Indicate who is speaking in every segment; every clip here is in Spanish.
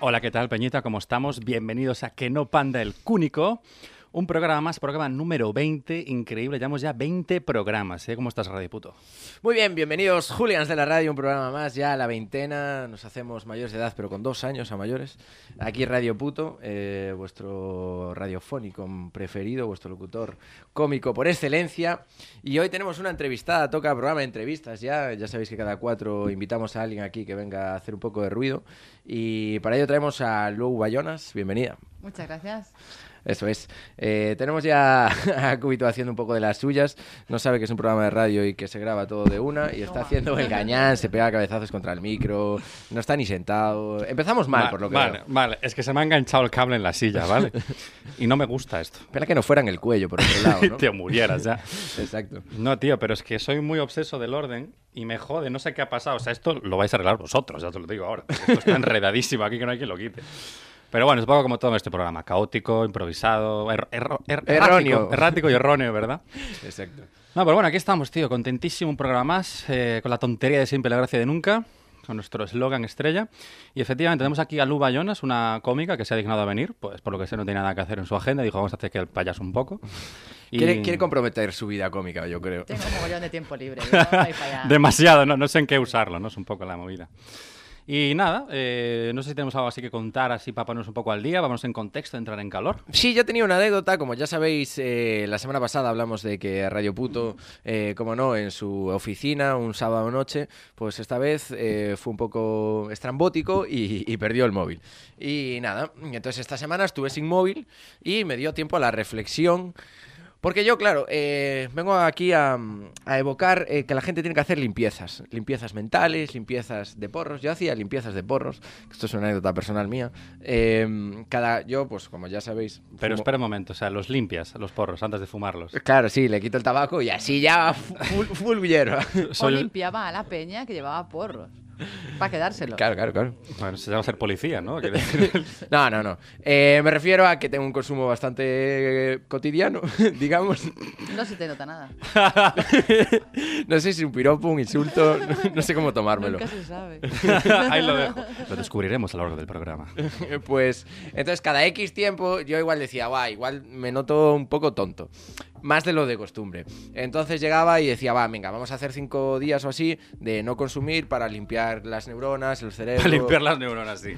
Speaker 1: Hola, ¿qué tal, Peñita? ¿Cómo estamos? Bienvenidos a Que no panda el cúnico. Un programa más, programa número 20, increíble, llevamos ya 20 programas, ¿eh? ¿Cómo estás, Radio Puto?
Speaker 2: Muy bien, bienvenidos Julians de la Radio, un programa más, ya a la veintena, nos hacemos mayores de edad, pero con dos años a mayores. Aquí Radio Puto, eh, vuestro radiofónico preferido, vuestro locutor cómico por excelencia. Y hoy tenemos una entrevistada, toca programa de entrevistas ya, ya sabéis que cada cuatro invitamos a alguien aquí que venga a hacer un poco de ruido. Y para ello traemos a Lou Bayonas, bienvenida.
Speaker 3: Muchas gracias.
Speaker 2: Eso es. Eh, tenemos ya a Cubito haciendo un poco de las suyas. No sabe que es un programa de radio y que se graba todo de una. Y está haciendo el gañán, se pega cabezazos contra el micro. No está ni sentado. Empezamos mal, por lo que
Speaker 1: Vale,
Speaker 2: veo.
Speaker 1: vale, es que se me ha enganchado el cable en la silla, ¿vale? y no me gusta esto.
Speaker 2: Espera que no fueran el cuello, por otro lado, ¿no?
Speaker 1: Te murieras ya.
Speaker 2: Exacto.
Speaker 1: No, tío, pero es que soy muy obseso del orden y me jode, no sé qué ha pasado. O sea, esto lo vais a arreglar vosotros, ya te lo digo ahora. porque Esto está enredadísimo aquí que no hay quien lo quite. Pero bueno, es un poco como todo este programa, caótico, improvisado, er- erro- er-
Speaker 2: Erróneo.
Speaker 1: errático, errático y erróneo, ¿verdad?
Speaker 2: Exacto.
Speaker 1: No, pero bueno, aquí estamos, tío, contentísimo, un programa más, eh, con la tontería de siempre, la gracia de nunca, con nuestro eslogan estrella. Y efectivamente tenemos aquí a Lu Bayonas, una cómica que se ha dignado a venir, pues por lo que sé no tiene nada que hacer en su agenda, dijo, vamos a hacer que el payaso un poco. Y-
Speaker 2: Quiere, quiere comprometer su vida cómica, yo creo.
Speaker 3: Tengo un mogollón de tiempo libre. yo no voy para allá.
Speaker 1: Demasiado, no, no sé en qué usarlo, ¿no? Es un poco la movida. Y nada, eh, no sé si tenemos algo así que contar, así para ponernos un poco al día, vamos en contexto, entrar en calor.
Speaker 2: Sí, yo tenía una anécdota, como ya sabéis, eh, la semana pasada hablamos de que Radio Puto, eh, como no, en su oficina un sábado noche, pues esta vez eh, fue un poco estrambótico y, y perdió el móvil. Y nada, entonces esta semana estuve sin móvil y me dio tiempo a la reflexión. Porque yo, claro, eh, vengo aquí a, a evocar eh, que la gente tiene que hacer limpiezas. Limpiezas mentales, limpiezas de porros. Yo hacía limpiezas de porros. Esto es una anécdota personal mía. Eh, cada, yo, pues como ya sabéis...
Speaker 1: Pero
Speaker 2: fumo-
Speaker 1: espera un momento, o sea, los limpias, los porros, antes de fumarlos.
Speaker 2: Claro, sí, le quito el tabaco y así ya full, full hierba.
Speaker 3: O
Speaker 1: Soy-
Speaker 3: limpiaba a la peña que llevaba porros para quedárselo.
Speaker 2: Claro, claro, claro.
Speaker 1: Bueno, se llama ser policía, ¿no? Quiero decir,
Speaker 2: No, no, no. Eh, me refiero a que tengo un consumo bastante eh, cotidiano, digamos.
Speaker 3: No se te nota nada.
Speaker 2: No sé si un piropo, un insulto, no, no sé cómo tomármelo.
Speaker 3: Nunca se sabe.
Speaker 1: Ahí lo dejo. Lo descubriremos a lo largo del programa.
Speaker 2: Pues entonces cada X tiempo yo igual decía, va, igual me noto un poco tonto. Más de lo de costumbre. Entonces llegaba y decía, va, venga, vamos a hacer cinco días o así de no consumir para limpiar las neuronas, el cerebro.
Speaker 1: Para limpiar las neuronas, sí.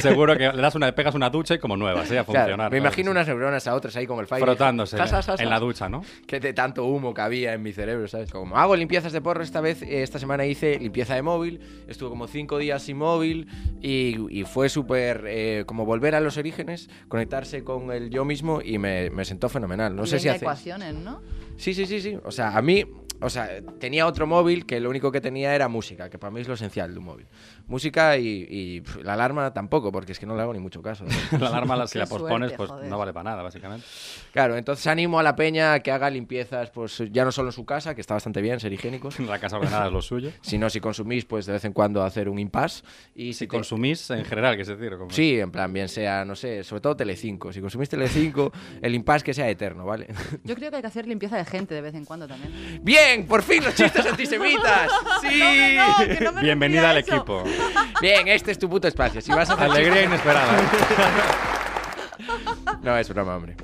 Speaker 1: Seguro que le das una, pegas una ducha y como nueva, sí, a
Speaker 2: Claro,
Speaker 1: funcionar. claro
Speaker 2: me imagino
Speaker 1: que
Speaker 2: unas neuronas a otras ahí con el
Speaker 1: sí.
Speaker 2: fire.
Speaker 1: frotándose
Speaker 2: Ja, ja, ja, ja.
Speaker 1: en la ducha, ¿no?
Speaker 2: que de tanto humo que había en mi cerebro, ¿sabes? Como hago limpiezas de porro esta vez, eh, esta semana hice limpieza de móvil, estuve como cinco días sin móvil y, y fue súper eh, como volver a los orígenes, conectarse con el yo mismo y me, me sentó fenomenal. No
Speaker 3: Y
Speaker 2: sé si
Speaker 3: venga
Speaker 2: hace.
Speaker 3: ecuaciones, ¿no?
Speaker 2: Sí, sí, sí, sí. O sea, a mí, o sea, tenía otro móvil que lo único que tenía era música, que para mí es lo esencial de un móvil. Música y, y, pf, la alarma tampoco, porque es que no le hago ni mucho caso.
Speaker 1: La alarma, la- si
Speaker 3: Qué
Speaker 1: la pospones,
Speaker 3: suerte,
Speaker 1: pues
Speaker 3: joder.
Speaker 1: no vale para nada, básicamente.
Speaker 2: Claro, entonces animo a la peña a que haga limpiezas, pues ya no solo en su casa, que está bastante bien ser higiénicos,
Speaker 1: La casa ordenada es lo suyo.
Speaker 2: sino si consumís, pues de vez en cuando hacer un impasse. Y si,
Speaker 1: Si
Speaker 2: te-
Speaker 1: consumís en general, que es decir, como-
Speaker 2: Sí, en plan, bien sea, no sé, sobre todo Telecinco. Si consumís Telecinco, el impasse que sea eterno, ¿vale?
Speaker 3: Yo creo que hay que hacer limpieza de gente de vez en cuando también.
Speaker 2: ¡Bien! ¡Por fin los chistes antisemitas! ¡Sí!
Speaker 3: No, no, que no me
Speaker 1: Bienvenida al
Speaker 3: refería a eso.
Speaker 1: equipo.
Speaker 2: Bien, este es tu puto espacio. Si vas a hacer
Speaker 1: Alegría inesperada.
Speaker 2: chistes- No, es broma, hombre.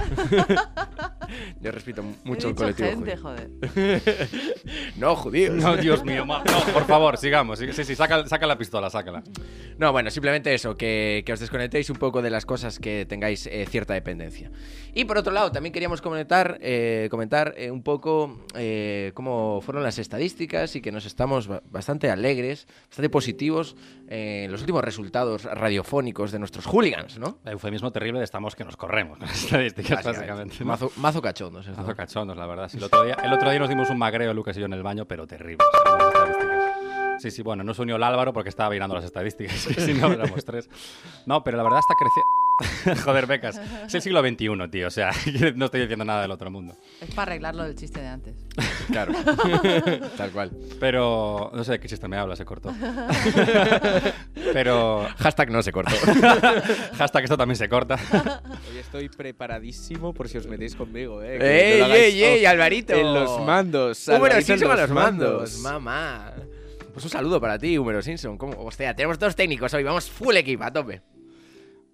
Speaker 2: Yo respeto mucho
Speaker 3: He
Speaker 2: el
Speaker 3: dicho
Speaker 2: colectivo
Speaker 3: gente,
Speaker 2: judío.
Speaker 3: joder.
Speaker 2: No, judíos.
Speaker 1: No, Dios mío, ma- no, por favor, sigamos. Sí, sí, sí, saca, saca la pistola, sácala.
Speaker 2: No, bueno, simplemente eso, que, que os desconectéis un poco de las cosas que tengáis eh, cierta dependencia. Y por otro lado, también queríamos comentar, eh, comentar eh, un poco eh, cómo fueron las estadísticas y que nos estamos ba- bastante alegres, bastante positivos eh, en los últimos resultados radiofónicos de nuestros hooligans, ¿no?
Speaker 1: Eufemismo terrible de estamos que nos corremos con las estadísticas, básicamente. ¿no?
Speaker 2: Mazo, mazo cachondos. esto.
Speaker 1: Mazo cachondos, la verdad. Sí, el, otro día, el otro día nos dimos un magreo, Lucas y yo, en el baño, pero terrible. o sea, con las estadísticas. Sí, sí, bueno, no se unió el Álvaro porque estaba mirando las estadísticas, que si no éramos tres. No, pero la verdad está creciendo. Joder, becas. Es el siglo XXI, tío. O sea, no estoy diciendo nada del otro mundo.
Speaker 3: Es para arreglarlo del chiste de antes.
Speaker 2: Claro. Tal cual.
Speaker 1: Pero no sé de qué chiste me habla, se cortó. Pero
Speaker 2: Hashtag no se cortó.
Speaker 1: hashtag esto también se corta.
Speaker 4: Hoy estoy preparadísimo por si os metéis conmigo, eh.
Speaker 2: ¡Ey,
Speaker 4: que no lo hagáis
Speaker 2: ey, ey,
Speaker 4: off
Speaker 2: Alvarito!
Speaker 4: En los mandos.
Speaker 2: Húmero
Speaker 4: Alvarito en
Speaker 2: Simpson a
Speaker 4: los
Speaker 2: los mandos.
Speaker 4: mandos.
Speaker 2: Mamá. Pues un saludo para ti, Húmero Simpson. ¿Cómo? Hostia, tenemos dos técnicos hoy. Vamos full equipo, a tope.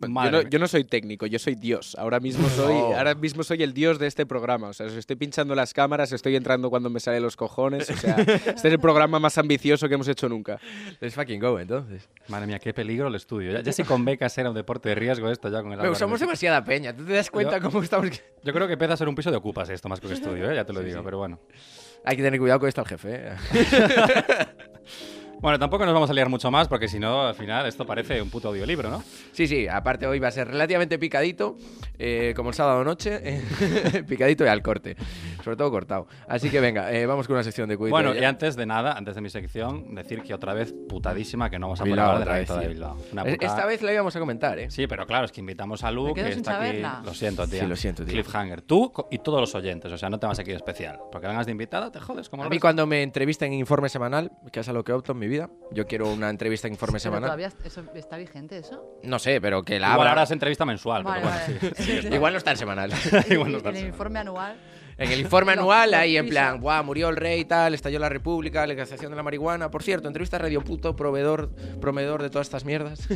Speaker 4: Yo
Speaker 1: Madre
Speaker 4: no,
Speaker 1: mía.
Speaker 4: yo no soy técnico, yo soy Dios. Ahora mismo soy,
Speaker 2: No.
Speaker 4: ahora mismo soy el Dios de este programa. O sea, os estoy pinchando las cámaras, estoy entrando cuando me sale los cojones. O sea, este es el programa más ambicioso que hemos hecho nunca.
Speaker 2: Let's fucking go, entonces.
Speaker 1: Madre mía, qué peligro el estudio. Ya, ya si con becas era un deporte de riesgo esto ya con el
Speaker 2: Pero
Speaker 1: Álvaro.
Speaker 2: somos demasiada peña. ¿Tú te das cuenta
Speaker 1: Yo-
Speaker 2: cómo estamos?
Speaker 1: Yo creo que empieza a ser un piso de ocupas esto más que un estudio, ¿eh? ya te lo digo, pero bueno.
Speaker 2: Hay que tener cuidado con esto al jefe. ¿eh?
Speaker 1: Bueno, tampoco nos vamos a liar mucho más porque si no, al final esto parece un puto audiolibro, ¿no?
Speaker 2: Sí, sí, aparte hoy va a ser relativamente picadito, eh, como el sábado noche, eh, picadito y al corte, sobre todo cortado. Así que venga, eh, vamos con una sección de cuidado.
Speaker 1: Bueno, y antes de nada, antes de mi sección, decir que otra vez putadísima que no vamos a poder
Speaker 2: Bilbao,
Speaker 1: hablar de la
Speaker 2: otra vez,
Speaker 1: guitarra de
Speaker 2: tío.
Speaker 1: Bilbao. Una
Speaker 2: Es-
Speaker 1: putada.
Speaker 2: Esta vez la íbamos a comentar, ¿eh?
Speaker 1: Sí, pero claro, es que invitamos a Lu,
Speaker 3: Me quedo
Speaker 1: que
Speaker 3: sin
Speaker 1: está aquí.
Speaker 3: saberla.
Speaker 1: Lo siento, tío.
Speaker 2: Sí, lo siento, tío.
Speaker 1: Cliffhanger. Tú co- y todos los oyentes, o sea, no te vas aquí de especial. Porque vengas de invitada, te jodes como
Speaker 2: A
Speaker 1: lo
Speaker 2: mí
Speaker 1: ves.
Speaker 2: cuando me entrevistan en informe semanal, que es a lo que opto en mi vida, yo quiero una entrevista en informe
Speaker 3: Pero
Speaker 2: semanal.
Speaker 3: todavía est- eso- está vigente eso.
Speaker 2: No sé, pero que la
Speaker 1: Igual
Speaker 2: abra.
Speaker 1: ahora es entrevista mensual, pero bueno, sí.
Speaker 2: Igual no está en semanal.
Speaker 3: Y-
Speaker 1: Igual
Speaker 3: y-
Speaker 1: no
Speaker 3: en el
Speaker 1: pasa.
Speaker 3: informe anual.
Speaker 2: En el informe
Speaker 3: Lo-
Speaker 2: anual
Speaker 3: lo
Speaker 2: ahí en
Speaker 3: pisa.
Speaker 2: plan, guau, murió el rey, tal, estalló la república, legalización de la marihuana. Por cierto, entrevista a Radio Puto, proveedor, proveedor de todas estas mierdas.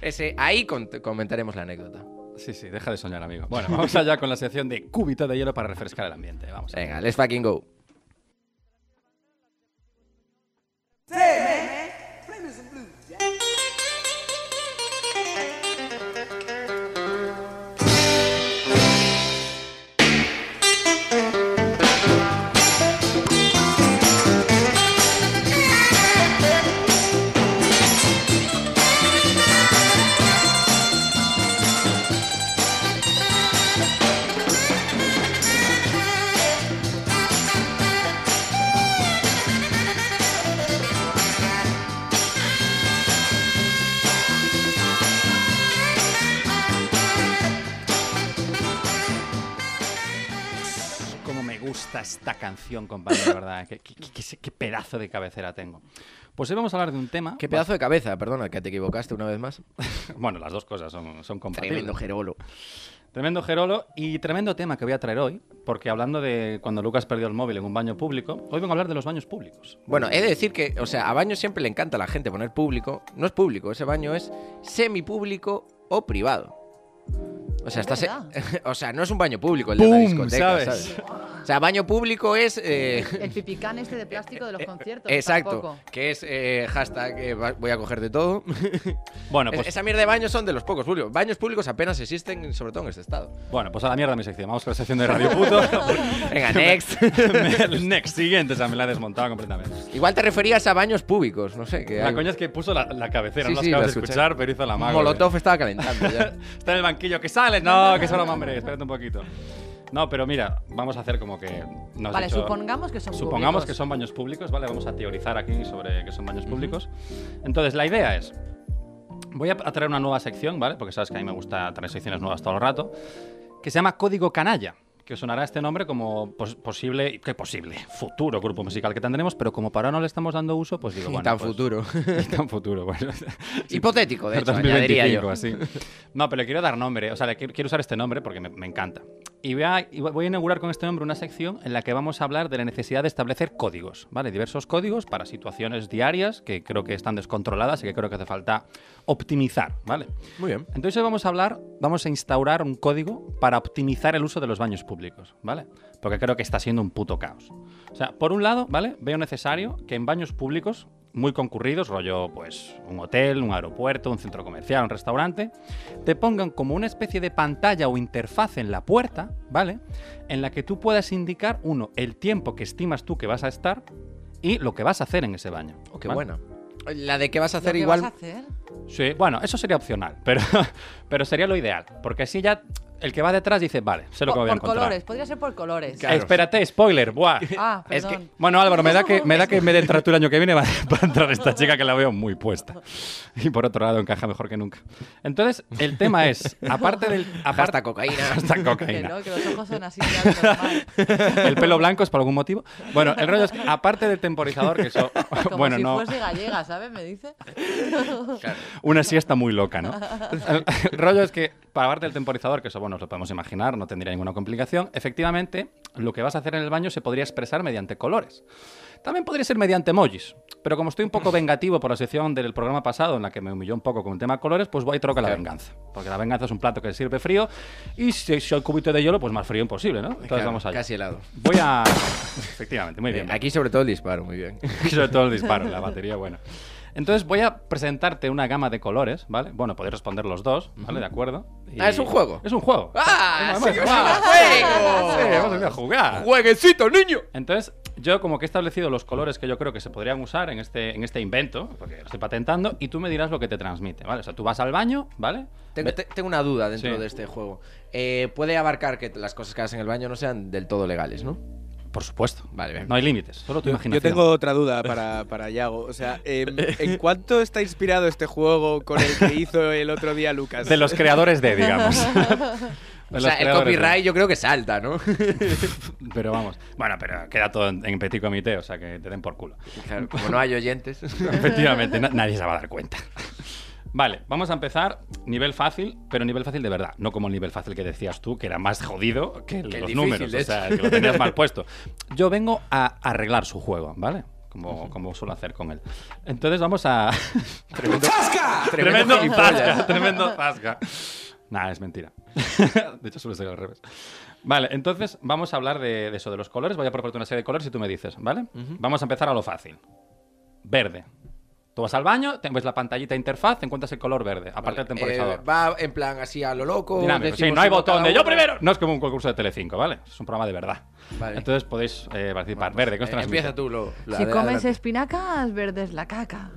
Speaker 2: Ese, ahí cont- comentaremos la anécdota.
Speaker 1: Sí, sí, deja de soñar, amigo. Bueno, vamos allá con la sección de cúbito de hielo para refrescar el ambiente. Vamos.
Speaker 2: Venga, let's fucking go.
Speaker 1: Cómo me gusta esta canción, compañero, de verdad. Qué, qué- qué- qué pedazo de cabecera tengo. Pues hoy vamos a hablar de un tema...
Speaker 2: Qué pedazo de cabeza, perdona, que te equivocaste una vez más.
Speaker 1: Bueno, las dos cosas son, son compatibles.
Speaker 2: Tremendo gerolo.
Speaker 1: Tremendo Gerolo y tremendo tema que voy a traer hoy, porque hablando de cuando Lucas perdió el móvil en un baño público, hoy vengo a hablar de los baños públicos.
Speaker 2: Bueno, he de decir que, o sea, a baño siempre le encanta a la gente poner público. No es público, ese baño es semipúblico o privado. O sea,
Speaker 3: Es
Speaker 2: está se-
Speaker 3: verdad.
Speaker 2: o sea, no es un baño público el de la
Speaker 1: ¡Pum!
Speaker 2: discoteca,
Speaker 1: ¿Sabes?
Speaker 2: ¿sabes? O sea, baño público es eh,
Speaker 3: El pipicán este de plástico
Speaker 1: Eh,
Speaker 3: de los conciertos.
Speaker 2: Exacto,
Speaker 3: tampoco.
Speaker 2: que es eh, hashtag eh, va- voy a coger de todo.
Speaker 1: Bueno,
Speaker 2: Es-
Speaker 1: pues,
Speaker 2: Esa mierda de baños son de los pocos públicos. Baños públicos apenas existen, sobre todo en este estado.
Speaker 1: bueno, pues a la mierda mi sección. Vamos con la sección de Radio Puto.
Speaker 2: Venga, next.
Speaker 1: El Next siguiente, o sea, me la he desmontado completamente.
Speaker 2: Igual te referías a baños públicos, no sé. Que
Speaker 1: La
Speaker 2: hay-
Speaker 1: coña es que puso la, la cabecera,
Speaker 2: Sí,
Speaker 1: no las
Speaker 2: sí,
Speaker 1: acabas
Speaker 2: la
Speaker 1: de
Speaker 2: escuché.
Speaker 1: escuchar, pero hizo la mago. eh.
Speaker 2: Molotov estaba calentando ya.
Speaker 1: Está en el banquillo, que sale. No, que es broma, hombre, espérate un poquito. No, pero mira, vamos a hacer como que. no has
Speaker 3: Vale,
Speaker 1: dicho-
Speaker 3: supongamos que son
Speaker 1: Supongamos
Speaker 3: públicos.
Speaker 1: que son baños públicos, ¿vale? Vamos a teorizar aquí sobre que son baños públicos. Entonces, la idea es. Voy a traer una nueva sección, ¿vale? Porque sabes que a mí me gusta traer secciones nuevas todo el rato. Que se llama Código Canalla. Que os sonará este nombre como pos- posible. ¿Qué posible? Futuro grupo musical que tendremos, pero como para ahora no le estamos dando uso, pues digo,
Speaker 2: Y
Speaker 1: bueno.
Speaker 2: tan
Speaker 1: pues-
Speaker 2: futuro.
Speaker 1: y tan futuro, bueno.
Speaker 2: Hipotético, de hecho,
Speaker 1: 2025,
Speaker 2: añadiría yo.
Speaker 1: así. No, pero le quiero dar nombre, o sea, le quiero, quiero usar este nombre porque me, me encanta. Y voy a, y voy a inaugurar con este nombre una sección en la que vamos a hablar de la necesidad de establecer códigos, ¿vale? Diversos códigos para situaciones diarias que creo que están descontroladas y que creo que hace falta optimizar, ¿vale?
Speaker 2: Muy bien.
Speaker 1: Entonces hoy vamos a hablar, vamos a instaurar un código para optimizar el uso de los baños públicos, ¿vale? Porque creo que está siendo un puto caos. O sea, por un lado, ¿vale? Veo necesario que en baños públicos muy concurridos, rollo pues un hotel, un aeropuerto, un centro comercial, un restaurante, te pongan como una especie de pantalla o interfaz en la puerta, ¿vale? En la que tú puedas indicar, uno, el tiempo que estimas tú que vas a estar y lo que vas a hacer en ese baño.
Speaker 2: Oh, qué
Speaker 1: ¿vale?
Speaker 2: buena. La de qué vas a
Speaker 3: ¿Lo
Speaker 2: hacer
Speaker 3: que
Speaker 2: igual.
Speaker 3: vas a hacer?
Speaker 1: Sí, bueno, eso sería opcional, pero, pero sería lo ideal, porque así ya el que va detrás dice, vale, sé lo que
Speaker 3: Por-
Speaker 1: voy a
Speaker 3: por
Speaker 1: encontrar.
Speaker 3: colores, podría ser por colores.
Speaker 2: Claro.
Speaker 1: Espérate, spoiler, buah.
Speaker 3: Ah,
Speaker 2: Es que-
Speaker 3: perdón.
Speaker 1: Bueno, Álvaro, me da que me da que en vez de entrar tú el año que viene va va a entrar esta chica que la veo muy puesta. Y por otro lado encaja mejor que nunca. Entonces, el tema es, aparte del
Speaker 2: Hasta
Speaker 1: aparte
Speaker 2: cocaína.
Speaker 1: hasta
Speaker 3: Que
Speaker 1: cocaína.
Speaker 3: no, que los ojos son así de algo normal.
Speaker 1: El pelo blanco es por algún motivo. Bueno, el rollo es que aparte del temporizador que eso
Speaker 3: Como
Speaker 1: bueno,
Speaker 3: si
Speaker 1: no
Speaker 3: fuese gallega, ¿sabes? Me dice.
Speaker 1: una siesta muy loca, ¿no? El, el rollo es que, para parte del temporizador, que eso, bueno, os lo podemos imaginar, no tendría ninguna complicación, efectivamente, lo que vas a hacer en el baño se podría expresar mediante colores. También podría ser mediante emojis, pero como estoy un poco vengativo por la sección del programa pasado en la que me humilló un poco con el tema colores, pues voy y troca la
Speaker 2: Claro.
Speaker 1: venganza. Porque la venganza es un plato que sirve frío y si soy cubito de hielo, pues más frío imposible, ¿no? Entonces
Speaker 2: Claro,
Speaker 1: vamos allá.
Speaker 2: Casi helado.
Speaker 1: Voy a... Efectivamente, muy bien.
Speaker 2: Eh, Aquí sobre todo el disparo, muy bien.
Speaker 1: Y sobre todo el disparo, la batería buena. Entonces voy a presentarte una gama de colores, ¿vale? Bueno, podéis responder los dos, ¿vale? ¿De acuerdo? Y-
Speaker 2: Ah, ¿es un juego?
Speaker 1: Es un juego.
Speaker 2: ¡Ah!
Speaker 1: Además,
Speaker 2: sí,
Speaker 1: ah,
Speaker 2: juego!
Speaker 1: sí, hemos venido a jugar.
Speaker 2: ¡Jueguecito, niño!
Speaker 1: Entonces, yo como que he establecido los colores que yo creo que se podrían usar en este, en este invento, porque lo estoy patentando, y tú me dirás lo que te transmite, ¿vale? O sea, tú vas al baño, ¿vale?
Speaker 2: Tengo,
Speaker 1: Ve-
Speaker 2: te- tengo una duda dentro
Speaker 1: Sí.
Speaker 2: de este juego. Eh, puede abarcar que las cosas que hagas en el baño no sean del todo legales, ¿no?
Speaker 1: Por supuesto.
Speaker 2: Vale, bien.
Speaker 1: No hay límites, solo tu
Speaker 4: Yo,
Speaker 1: imaginación.
Speaker 4: yo tengo otra duda para, para Yago. O sea, em, ¿en cuánto está inspirado este juego con el que hizo el otro día Lucas?
Speaker 1: De los creadores de, digamos. De
Speaker 2: O
Speaker 1: los
Speaker 2: sea, el
Speaker 1: creadores de.
Speaker 2: copyright yo creo que salta, ¿no?
Speaker 1: Pero vamos. Bueno, pero queda todo en, en petit comité, o sea que te den por culo.
Speaker 2: Claro, como no hay oyentes.
Speaker 1: Efectivamente, na- nadie se va a dar cuenta. Vale, vamos a empezar nivel fácil, pero nivel fácil de verdad, no como el nivel fácil que decías tú, que era más jodido que los
Speaker 2: Que el difícil,
Speaker 1: números,
Speaker 2: de
Speaker 1: o
Speaker 2: hecho.
Speaker 1: sea, que lo tenías mal puesto. Yo vengo a arreglar su juego, ¿vale? Como, como suelo hacer con él. Entonces vamos a... Tremendo
Speaker 2: Eh,
Speaker 1: zasca, tremendo zasca. Nada, es mentira. De hecho, suele ser al revés. Vale, entonces vamos a hablar de, de eso, de los colores. Voy a proponerte una serie de colores y tú me dices, ¿vale? Vamos a empezar a lo fácil. Verde. Tú vas al baño, te ves la pantallita de interfaz, te encuentras el color verde, aparte del temporizador.
Speaker 2: Eh, va en plan así a lo loco.
Speaker 1: Dinámico, sí,
Speaker 2: decimos
Speaker 1: no hay
Speaker 2: uno
Speaker 1: botón
Speaker 2: cada
Speaker 1: de yo
Speaker 2: uno.
Speaker 1: primero. No es como un concurso de Telecinco, ¿vale? Es un programa de verdad.
Speaker 2: Vale.
Speaker 1: Entonces podéis eh, participar. verde, ¿qué os
Speaker 2: Eh,
Speaker 1: transmite?
Speaker 2: empieza tú, lo. la
Speaker 3: si
Speaker 2: de
Speaker 3: comes
Speaker 2: adelante.
Speaker 3: espinacas, verdes la caca.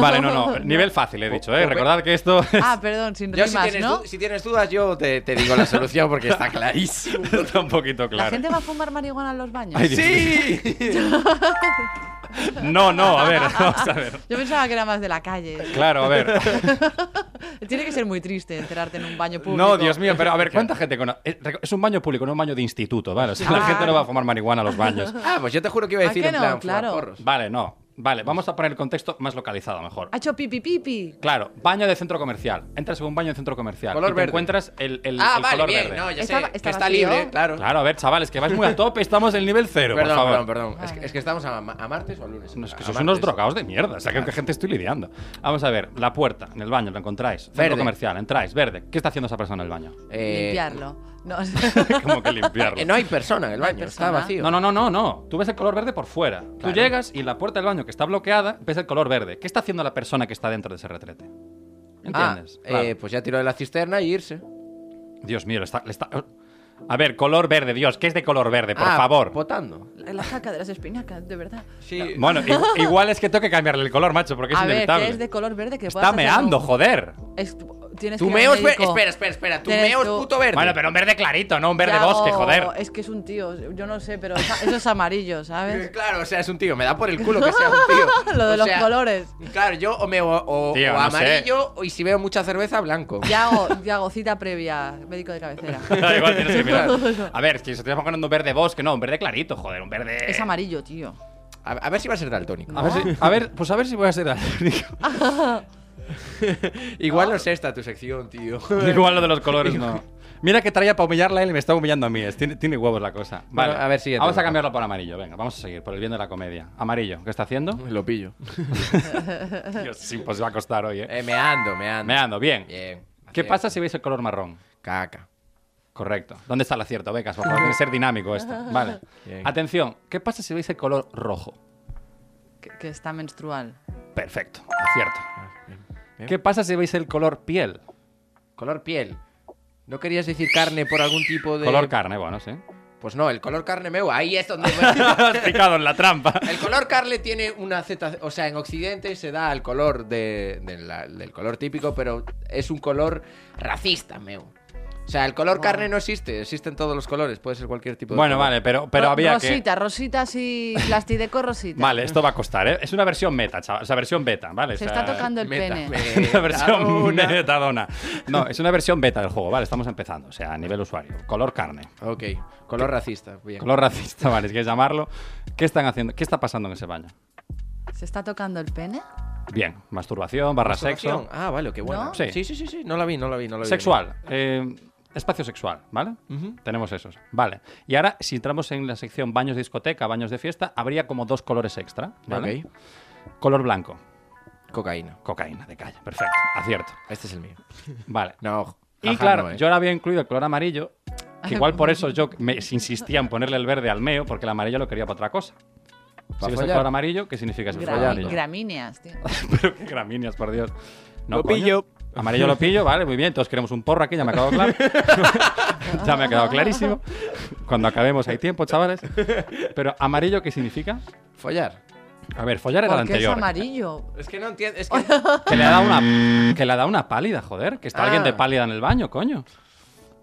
Speaker 1: Vale, no, no. Nivel fácil, he dicho, ¿eh? Recordad que esto...
Speaker 3: Ah, perdón, sin
Speaker 2: Yo, si
Speaker 3: rimas,
Speaker 2: tienes,
Speaker 3: ¿no?
Speaker 2: du- si tienes dudas, yo te, te digo la solución porque está clarísimo.
Speaker 1: está un poquito
Speaker 3: La
Speaker 1: claro.
Speaker 3: gente va a fumar marihuana en los baños.
Speaker 1: Ay, Dios
Speaker 2: ¡Sí!
Speaker 1: No, no, a ver, vamos a ver.
Speaker 3: Yo pensaba que era más de la calle.
Speaker 1: Claro, a ver.
Speaker 3: Tiene que ser muy triste enterarte en un baño público.
Speaker 1: No, Dios mío, pero a ver, ¿cuánta gente conoce? Es- Es un baño público, no un baño de instituto, ¿vale? O sea, la
Speaker 3: Ah.
Speaker 1: gente no va a fumar marihuana a los baños.
Speaker 2: Ah, pues yo te juro que iba a
Speaker 3: ¿A
Speaker 2: decir
Speaker 3: que
Speaker 2: en
Speaker 3: no?
Speaker 2: plan
Speaker 3: Claro.
Speaker 2: fumaporros.
Speaker 1: Vale, no. Vale, vamos a poner el contexto más localizado mejor.
Speaker 3: Ha hecho pipi pipi.
Speaker 1: Claro, baño de centro comercial. Entras en un baño de centro comercial
Speaker 2: Color
Speaker 1: y te
Speaker 2: verde.
Speaker 1: encuentras el, el-
Speaker 2: Ah,
Speaker 1: el
Speaker 2: vale,
Speaker 1: color
Speaker 2: bien,
Speaker 1: verde.
Speaker 2: no, ya
Speaker 3: Está-
Speaker 2: sé.
Speaker 3: está
Speaker 2: que está
Speaker 3: vacío.
Speaker 2: libre, ¿eh? claro.
Speaker 1: Claro, a ver, chavales, que vais muy a tope, estamos en el nivel cero,
Speaker 2: perdón,
Speaker 1: por favor.
Speaker 2: perdón, Ah, perdón, Es que, es que estamos a, ma- a martes o a lunes.
Speaker 1: No, es
Speaker 2: A-
Speaker 1: que
Speaker 2: a
Speaker 1: sois
Speaker 2: martes.
Speaker 1: unos drogados de mierda. O sea, que gente estoy lidiando. Vamos a ver, la puerta, en el baño, lo encontráis. Centro
Speaker 2: Verde.
Speaker 1: comercial, entráis, verde. ¿Qué está haciendo esa persona en el baño?
Speaker 2: Eh,
Speaker 3: Limpiarlo. No.
Speaker 1: Como que limpiarlo.
Speaker 2: eh, no hay persona en el
Speaker 3: No hay
Speaker 2: baño, está
Speaker 3: persona.
Speaker 2: vacío.
Speaker 1: No, no, no, no, no. Tú ves el color verde por fuera. Tú
Speaker 2: Claro.
Speaker 1: llegas y la puerta del baño que está bloqueada, ves el color verde. ¿Qué está haciendo la persona que está dentro de ese retrete?
Speaker 2: Ah,
Speaker 1: ¿Entiendes?
Speaker 2: eh,
Speaker 1: Claro.
Speaker 2: pues ya tiró de la cisterna y irse.
Speaker 1: Dios mío, le está, le está- A ver, color verde, Dios, ¿qué es de color verde? Por
Speaker 2: Ah,
Speaker 1: favor.
Speaker 2: Potando.
Speaker 3: La caca de las espinacas, de verdad.
Speaker 2: Sí.
Speaker 1: Bueno, i- igual es que tengo que cambiarle el color, macho, porque es
Speaker 3: a ver,
Speaker 1: inevitable.
Speaker 3: que es de color verde que puedas
Speaker 1: está
Speaker 3: hacer
Speaker 1: meando,
Speaker 3: un-
Speaker 1: joder.
Speaker 3: Es- tienes
Speaker 2: Tu
Speaker 3: que ir
Speaker 2: meo
Speaker 3: al
Speaker 2: es ver-
Speaker 3: médico.
Speaker 2: Espera, espera, espera. Tu
Speaker 3: Tienes
Speaker 2: meo es
Speaker 3: tú-
Speaker 2: puto verde.
Speaker 1: Bueno, pero un verde clarito, no un verde
Speaker 3: Ya, oh,
Speaker 1: bosque,
Speaker 3: o-
Speaker 1: joder.
Speaker 3: Es que es un tío, yo no sé, pero esa- eso es amarillo,
Speaker 2: Eh,
Speaker 3: ¿sabes?
Speaker 2: Claro, o sea, es un tío. Me da por el culo que sea un tío.
Speaker 3: Lo de
Speaker 2: O
Speaker 3: los
Speaker 2: sea,
Speaker 3: colores.
Speaker 2: Claro, yo o meo o,
Speaker 1: Tío,
Speaker 2: o
Speaker 1: no sé.
Speaker 2: amarillo o- y si veo mucha cerveza, blanco.
Speaker 3: Yago, Yago, cita previa, médico de cabecera.
Speaker 1: Igual tienes que mirar. A ver, si estamos ganando un verde bosque, no, un verde clarito, joder, un verde.
Speaker 3: Es amarillo, tío.
Speaker 2: A, a ver si va a ser daltónico.
Speaker 1: A ver, si- a ver, pues a ver si voy a ser daltónico.
Speaker 2: Igual no es esta tu sección, tío.
Speaker 1: Igual lo de los colores no. Mira que traía para humillarla a él y me está humillando a mí. Es- Tiene, tiene huevos la cosa. Vale,
Speaker 2: Bueno, a ver, siguiente,
Speaker 1: Vamos a
Speaker 2: venga.
Speaker 1: cambiarlo por amarillo. Venga, vamos a seguir por el bien de la comedia. Amarillo, ¿qué está haciendo?
Speaker 2: Lo pillo.
Speaker 1: Dios, sí, pues va a costar hoy, ¿eh?
Speaker 2: Eh, meando, meando.
Speaker 1: Meando, bien.
Speaker 2: Bien.
Speaker 1: ¿Qué
Speaker 2: Hacer
Speaker 1: pasa si veis el color marrón?
Speaker 2: Caca.
Speaker 1: Correcto. ¿Dónde está el acierto, Becas? Por favor, tiene que ser dinámico esto. Vale.
Speaker 2: Bien.
Speaker 1: Atención, ¿qué pasa si veis el color rojo?
Speaker 3: Que, que está menstrual.
Speaker 1: Perfecto, acierto.
Speaker 2: Ah,
Speaker 1: ¿Qué pasa si veis el color piel?
Speaker 2: Color piel. ¿No querías decir carne por algún tipo de...?
Speaker 1: Color carne, bueno, sí.
Speaker 2: Pues no, el color carne meu, ahí es donde...
Speaker 1: Has picado en la trampa.
Speaker 2: El color carne tiene una Z, o sea, en Occidente se da al color de, de la- del color típico, pero es un color racista, meu. O sea, el color carne no existe, existen todos los colores, puede ser cualquier tipo de
Speaker 1: Oh. Bueno,
Speaker 2: color.
Speaker 1: vale, pero, pero
Speaker 3: Ro-
Speaker 1: había que...
Speaker 3: Rosita, Rosita así, plastideco Rosita.
Speaker 1: Vale, esto va a costar, ¿eh? Es una versión meta, chaval. O sea, versión beta, ¿vale? O
Speaker 3: Se
Speaker 1: sea,
Speaker 3: está tocando el
Speaker 2: Meta,
Speaker 3: pene.
Speaker 2: me-
Speaker 1: Es una versión
Speaker 2: Metadona.
Speaker 1: metadona. No, es una versión beta del juego, vale, estamos empezando, o sea, a nivel usuario. Color carne,
Speaker 2: Ok, color racista, bien.
Speaker 1: color racista, vale, si quieres llamarlo. ¿Qué están haciendo? ¿Qué está pasando en ese baño?
Speaker 3: ¿Se está tocando el pene?
Speaker 1: Bien, masturbación, barra sexo.
Speaker 2: Ah, vale, qué bueno.
Speaker 3: ¿No?
Speaker 1: Sí.
Speaker 2: sí, sí, sí, sí, no la vi, no la vi, no la vi.
Speaker 1: Sexual, eh, espacio sexual, ¿vale? Tenemos esos, vale. Y ahora, si entramos en la sección baños de discoteca, baños de fiesta, habría como dos colores extra, ¿vale?
Speaker 2: Ok,
Speaker 1: Color blanco,
Speaker 2: cocaína.
Speaker 1: cocaína de calle, perfecto, acierto,
Speaker 2: Este es el mío.
Speaker 1: vale.
Speaker 2: No,
Speaker 1: Y
Speaker 2: jaja,
Speaker 1: claro,
Speaker 2: no, eh.
Speaker 1: yo ahora había incluido el color amarillo, que igual por eso yo me insistía en ponerle el verde al meo, porque el amarillo lo quería para otra cosa. Si ves el
Speaker 2: follar?
Speaker 1: color amarillo, ¿qué significa ese
Speaker 3: Gra-
Speaker 1: color amarillo?
Speaker 3: gramíneas, tío.
Speaker 1: Pero qué gramíneas, por Dios. No,
Speaker 4: Lo
Speaker 1: coño.
Speaker 4: pillo.
Speaker 1: Amarillo lo pillo, vale, muy bien. Todos queremos un porro aquí, ya me ha quedado claro. ya me ha quedado clarísimo. Cuando acabemos hay tiempo, chavales. Pero amarillo, ¿qué significa?
Speaker 2: Follar.
Speaker 1: A ver, follar era el
Speaker 3: ¿Por qué es
Speaker 1: anterior.
Speaker 3: amarillo?
Speaker 2: Es que no entiendo, es que...
Speaker 1: Que le ha dado una, que le ha dado una pálida, joder. Que está
Speaker 2: Ah.
Speaker 1: alguien de pálida en el baño, coño.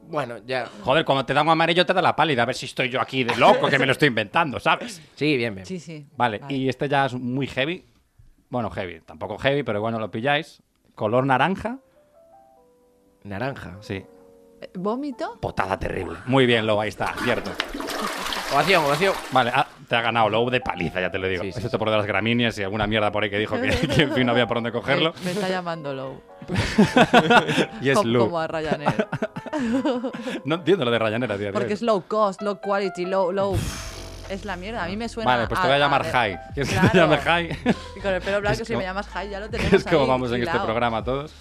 Speaker 2: bueno, ya.
Speaker 1: Joder, cuando te dan un amarillo te da la pálida. A ver si estoy yo aquí de loco, que me lo estoy inventando, ¿sabes?
Speaker 2: Sí, bien, bien.
Speaker 3: Sí, sí.
Speaker 1: Vale, y este ya es muy heavy. Bueno, heavy, tampoco heavy, pero bueno, lo pilláis. Color naranja.
Speaker 2: Naranja.
Speaker 1: Sí.
Speaker 3: Eh, ¿Vómito?
Speaker 1: Potada terrible. Muy bien, Lobo, ahí está, cierto.
Speaker 2: Ovación, ovación.
Speaker 1: Vale, ah, te ha ganado Lobo de paliza, ya te lo digo.
Speaker 2: Sí, sí,
Speaker 1: Excepto por lo de las gramíneas y alguna mierda por ahí que dijo que, que, en fin no había por dónde cogerlo.
Speaker 3: Eh, Me, me está llamando Low.
Speaker 1: Y es
Speaker 3: como,
Speaker 1: Lobo.
Speaker 3: a Ryanair.
Speaker 1: No entiendo lo de Ryanair a día de hoy.
Speaker 3: Porque es low cost, low quality, low, low. Es la mierda. A mí me suena.
Speaker 1: Vale, pues te voy a llamar
Speaker 3: de-
Speaker 1: High. ¿Quieres que te
Speaker 3: Claro.
Speaker 1: llame High?
Speaker 3: Y con el pelo
Speaker 1: Que
Speaker 3: blanco,
Speaker 1: es
Speaker 3: si
Speaker 1: como-
Speaker 3: me llamas High, ya lo
Speaker 1: Que
Speaker 3: tenemos.
Speaker 1: es como
Speaker 3: ahí,
Speaker 1: vamos en este
Speaker 3: hilado.
Speaker 1: programa todos.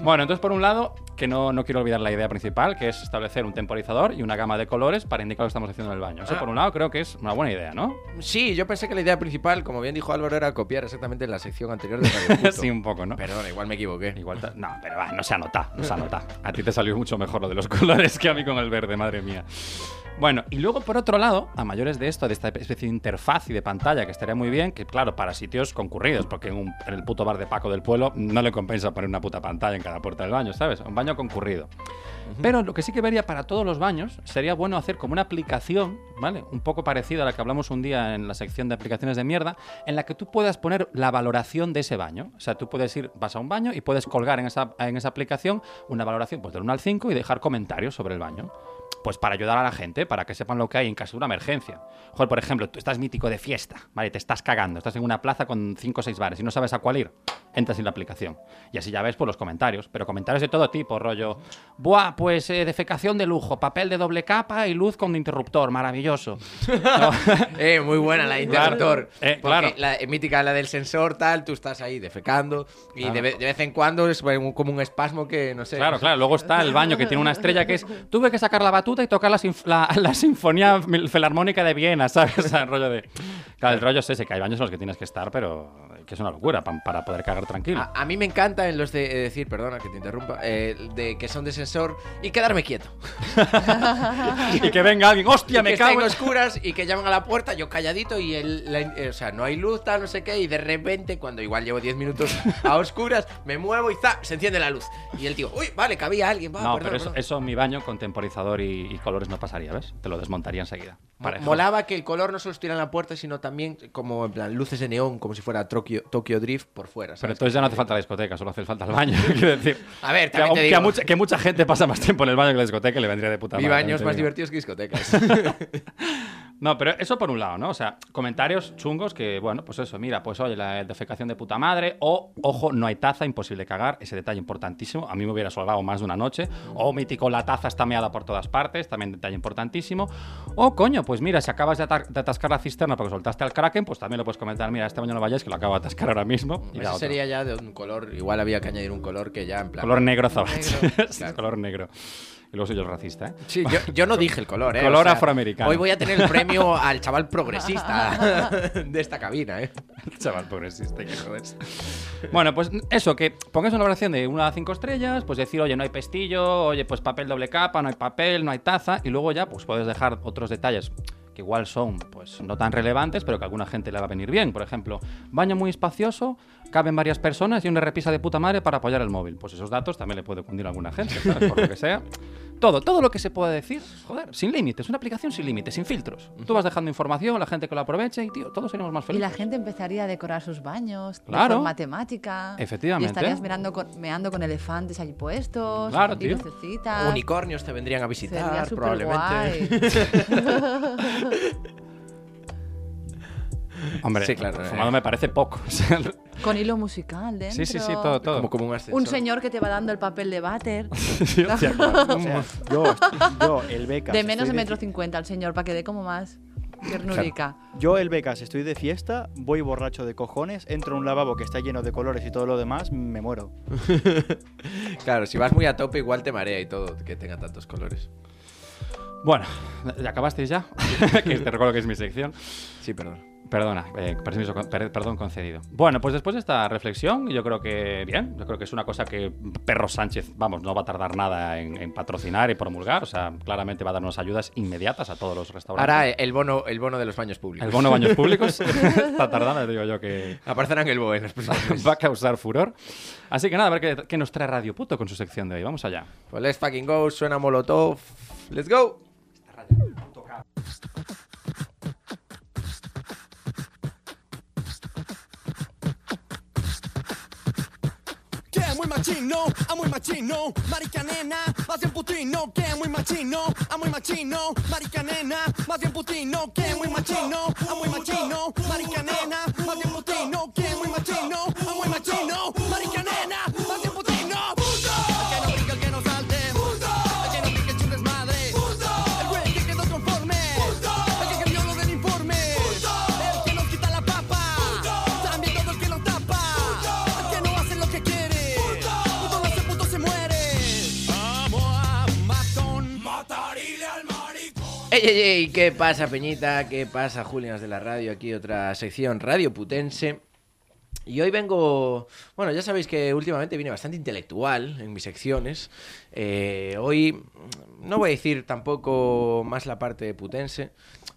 Speaker 1: Bueno, entonces por un lado, que no, no quiero olvidar la idea principal, que es establecer un temporizador y una gama de colores para indicar lo que estamos haciendo en el baño. Eso
Speaker 2: Ah.
Speaker 1: por un lado creo que es una buena idea, ¿no?
Speaker 2: Sí, yo pensé que la idea principal, como bien dijo Álvaro, era copiar exactamente la sección anterior de Radio Puto.
Speaker 1: Sí, un poco, ¿no?
Speaker 2: Perdón, igual me equivoqué.
Speaker 1: Igual ta- no, pero va, no se anota, no se anota. A ti te salió mucho mejor lo de los colores que a mí con el verde, madre mía. Bueno, y luego por otro lado, a mayores de esto, de esta especie de interfaz y de pantalla que estaría muy bien, que claro, para sitios concurridos, porque en, un- en el puto bar de Paco del Pueblo no le compensa poner una puta pantalla en cada puerta del baño, ¿sabes? Un baño concurrido. Pero lo que sí que vería para todos los baños sería bueno hacer como una aplicación, ¿vale? Un poco parecida a la que hablamos un día en la sección de aplicaciones de mierda, en la que tú puedas poner la valoración de ese baño. O sea, tú puedes ir, vas a un baño y puedes colgar en esa, en esa aplicación una valoración pues, del 1 al 5 y dejar comentarios sobre el baño. Pues para ayudar a la gente, para que sepan lo que hay en caso de una emergencia. Joder, por ejemplo, tú estás mítico de fiesta, ¿vale? Te estás cagando, estás en una plaza con 5 o 6 bares y no sabes a cuál ir. Entras en la aplicación. Y así ya ves por los comentarios, pero comentarios de todo tipo, rollo. Buah, pues eh, defecación de lujo, papel de doble capa y luz con interruptor, maravilloso.
Speaker 2: Eh, muy buena la de
Speaker 1: Claro.
Speaker 2: interruptor.
Speaker 1: Eh,
Speaker 2: Porque
Speaker 1: claro.
Speaker 2: La eh, mítica, la del sensor, tal, tú estás ahí defecando. Y
Speaker 1: Claro.
Speaker 2: de, ve- de vez en cuando es bueno, como un espasmo que no sé.
Speaker 1: Claro, claro. Luego está el baño que tiene una estrella que es. Tuve que sacar la batuta y tocar la, sinf- la- la sinfonía mil- filarmónica de Viena, ¿sabes? O sea, el rollo de. Claro, el rollo es ese, que hay baños en los que tienes que estar, pero que es una locura pa- para poder cagar tranquilo.
Speaker 2: A, a mí me encanta en los de eh, decir, perdona que te interrumpa, eh, de que son de sensor y quedarme quieto.
Speaker 1: Y que venga alguien, ¡hostia,
Speaker 2: Ah. Y
Speaker 1: me
Speaker 2: que estén
Speaker 1: cago! en-".
Speaker 2: oscuras y que llaman a la puerta, yo calladito y el, la- eh, o sea, no hay luz, tal, no sé qué, y de repente, cuando igual llevo 10 minutos a oscuras, me muevo y ¡za! se enciende la luz. Y el tío, uy, vale, cabía alguien, va,
Speaker 1: No,
Speaker 2: Ah, perdón,
Speaker 1: pero eso,
Speaker 2: perdón".
Speaker 1: eso en mi baño con temporizador y, y colores no pasaría, ¿ves? Te lo desmontaría enseguida. Para
Speaker 2: Mo- Molaba que el color no solo estuviera en la puerta, sino también como en plan luces de neón, como si fuera Tokyo, Tokyo Drift por fuera.
Speaker 1: Pero
Speaker 2: ¿sabes?
Speaker 1: entonces ya no hace falta la discoteca, solo hace falta el baño. Quiero decir,
Speaker 2: A ver,
Speaker 1: que,
Speaker 2: también
Speaker 1: aunque
Speaker 2: te digo.
Speaker 1: a mucha, que mucha gente pasa más tiempo en el baño que en la discoteca y le vendría de puta
Speaker 2: Mi
Speaker 1: madre, ¿eh?
Speaker 2: baño es
Speaker 1: también
Speaker 2: más
Speaker 1: te digo.
Speaker 2: divertido que discotecas.
Speaker 1: No, pero eso por un lado, ¿no? O sea, comentarios chungos que, bueno, pues eso, mira, pues oye, la defecación de puta madre, o, ojo, no hay taza, imposible cagar, ese detalle importantísimo, a mí me hubiera salvado más de una noche, o mítico, la taza está meada por todas partes, también detalle importantísimo, o coño, pues mira, si acabas de, atar- de atascar la cisterna porque soltaste al Kraken, pues también lo puedes comentar, mira, este baño no vayáis que lo acabo de atascar ahora mismo. y da
Speaker 2: eso
Speaker 1: otro.
Speaker 2: sería ya de un color, igual había que añadir un color que ya en plan...
Speaker 1: Color negro, Zabache.
Speaker 3: Negro,
Speaker 1: Sí,
Speaker 2: claro.
Speaker 1: color negro. Y luego soy yo el racista, ¿eh?
Speaker 2: Sí, yo, yo no dije el color, ¿eh?
Speaker 1: Color afroamericano.
Speaker 2: Hoy voy a tener el premio al chaval progresista de esta cabina, ¿eh?
Speaker 1: Chaval progresista, que joder. Bueno, pues eso, que pongáis una valoración de una a cinco estrellas, pues decir, oye, no hay pestillo, oye, pues papel doble capa, no hay papel, no hay taza, y luego ya, pues puedes dejar otros detalles que igual son, pues, no tan relevantes, pero que a alguna gente le va a venir bien. Por ejemplo, baño muy espacioso, caben varias personas y una repisa de puta madre para apoyar el móvil. Pues esos datos también le puede cundir a alguna gente, ¿sabes? Por lo que sea. Todo, todo lo que se pueda decir, joder, sin límites, una aplicación sin límites, sin filtros. Tú vas dejando información, la gente que lo aproveche y, tío, todos seremos más
Speaker 3: Y
Speaker 1: felices.
Speaker 3: la gente empezaría a decorar sus baños,
Speaker 1: Claro.
Speaker 3: claro. matemática.
Speaker 1: Efectivamente.
Speaker 3: Y estarías mirando con, meando con elefantes allí puestos.
Speaker 1: Claro,
Speaker 3: y
Speaker 1: tío.
Speaker 3: lucecitas.
Speaker 2: Unicornios te vendrían a
Speaker 3: Ah. Sería
Speaker 2: visitar, probablemente.
Speaker 3: superguay.
Speaker 1: Hombre,
Speaker 2: Sí, claro,
Speaker 1: fumado
Speaker 2: eh.
Speaker 1: me parece poco. o sea,
Speaker 3: Con hilo musical dentro.
Speaker 1: sí, sí, sí, todo, todo.
Speaker 2: Como, como un ascensor.
Speaker 3: Un señor que te va dando el papel de váter.
Speaker 1: Sí, hostia, claro.
Speaker 5: O sea, yo, yo, el becas.
Speaker 3: De
Speaker 5: estoy
Speaker 3: menos de metro
Speaker 5: fi-
Speaker 3: cincuenta al señor, para que dé como más ternurica.
Speaker 5: Yo, el becas, estoy de fiesta, voy borracho de cojones, entro a un lavabo que está lleno de colores y todo lo demás, me muero.
Speaker 2: Claro, si vas muy a tope, igual te marea y todo, que tenga tantos colores.
Speaker 1: Bueno, ¿ya acabasteis ya? que te recuerdo que es mi sección.
Speaker 2: Sí, perdón.
Speaker 1: Perdona, eh, permiso con- per- perdón concedido. Bueno, pues después de esta reflexión, yo creo que bien, yo creo que es una cosa que Perro Sánchez, vamos, no va a tardar nada en, en patrocinar y promulgar, o sea, claramente va a darnos ayudas inmediatas a todos los restaurantes.
Speaker 2: Ahora eh. el bono, el bono de los baños públicos.
Speaker 1: el bono baños públicos está tardando, digo yo que
Speaker 2: Aparecerán el BOE en los próximos meses.
Speaker 1: va a causar furor. Así que nada, a ver qué, qué nos trae Radio Puto con su sección de hoy. Vamos allá.
Speaker 2: Pues let's fucking go, suena Molotov. Let's go.
Speaker 6: Que muy machino, a muy machino, marica nena, más bien putino, que muy machino, a muy machino, marica nena, más bien putino, que muy machino, a muy machino, marica nena, más bien putino, que muy machino, a muy machino, marica nena, más bien putino, puto. El que no pica, el que no salte, puto. El que no pica es un desmadre, puto. El güey que quedó conforme, puto. El que cambió lo del informe, puto. El que nos quita la papa, puto. También todo el que nos tapa, puto. El que no hace lo que quiere, puto. Puto no hace, puto se muere. Vamos a matón, matarile al maricón.
Speaker 2: ¡Ey, ey, ey! ¿Qué pasa, Peñita? ¿Qué pasa, Julianas de la Radio? Aquí otra sección Radio Putense. Y hoy vengo, bueno, ya sabéis que últimamente vine bastante intelectual en mis secciones. Eh, hoy mm, no voy a decir tampoco más la parte putense.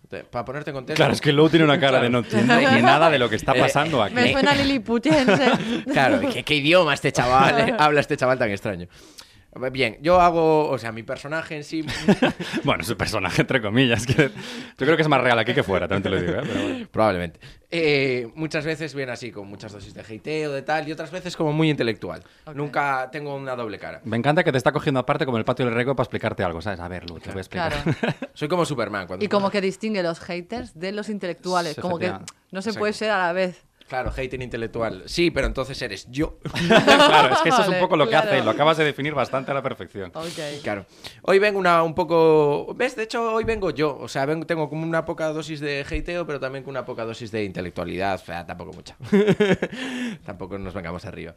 Speaker 2: Te- Para ponerte en contexto.
Speaker 1: Claro, es que luego tiene una cara de no entiendo ni nada de lo que está
Speaker 2: Eh,
Speaker 1: pasando aquí.
Speaker 3: Me suena liliputense.
Speaker 2: Claro, ¿qué, qué idioma este chaval? eh? Habla este chaval tan extraño. Bien, yo hago, o sea, mi personaje en sí
Speaker 1: Bueno, es un personaje, entre comillas. que- yo creo que es más real aquí que fuera, también te lo digo. ¿eh? Pero bueno.
Speaker 2: Probablemente. Eh, muchas veces viene así, con muchas dosis de hateo, de tal, y otras veces como muy intelectual. Nunca tengo una doble cara.
Speaker 1: Me encanta que te está cogiendo aparte como el patio del rego para explicarte algo, ¿sabes? A ver, Lu, te voy a explicar.
Speaker 3: Claro.
Speaker 2: Soy como Superman. Cuando
Speaker 3: Y como que distingue los haters de los intelectuales.
Speaker 1: Sí,
Speaker 3: Como que
Speaker 1: efectivamente.
Speaker 3: no se
Speaker 2: Sí.
Speaker 3: puede ser a la vez.
Speaker 2: Claro, hating intelectual. Sí, pero entonces eres yo.
Speaker 1: Claro, es que eso es un
Speaker 3: Vale,
Speaker 1: poco lo que
Speaker 3: claro.
Speaker 1: hace y lo acabas de definir bastante a la perfección.
Speaker 3: Ok.
Speaker 2: Claro. Hoy vengo una, un poco... ¿Ves? De hecho, hoy vengo yo. O sea, vengo- tengo como una poca dosis de hateo, pero también con una poca dosis de intelectualidad. O sea, tampoco mucha. tampoco nos vengamos arriba.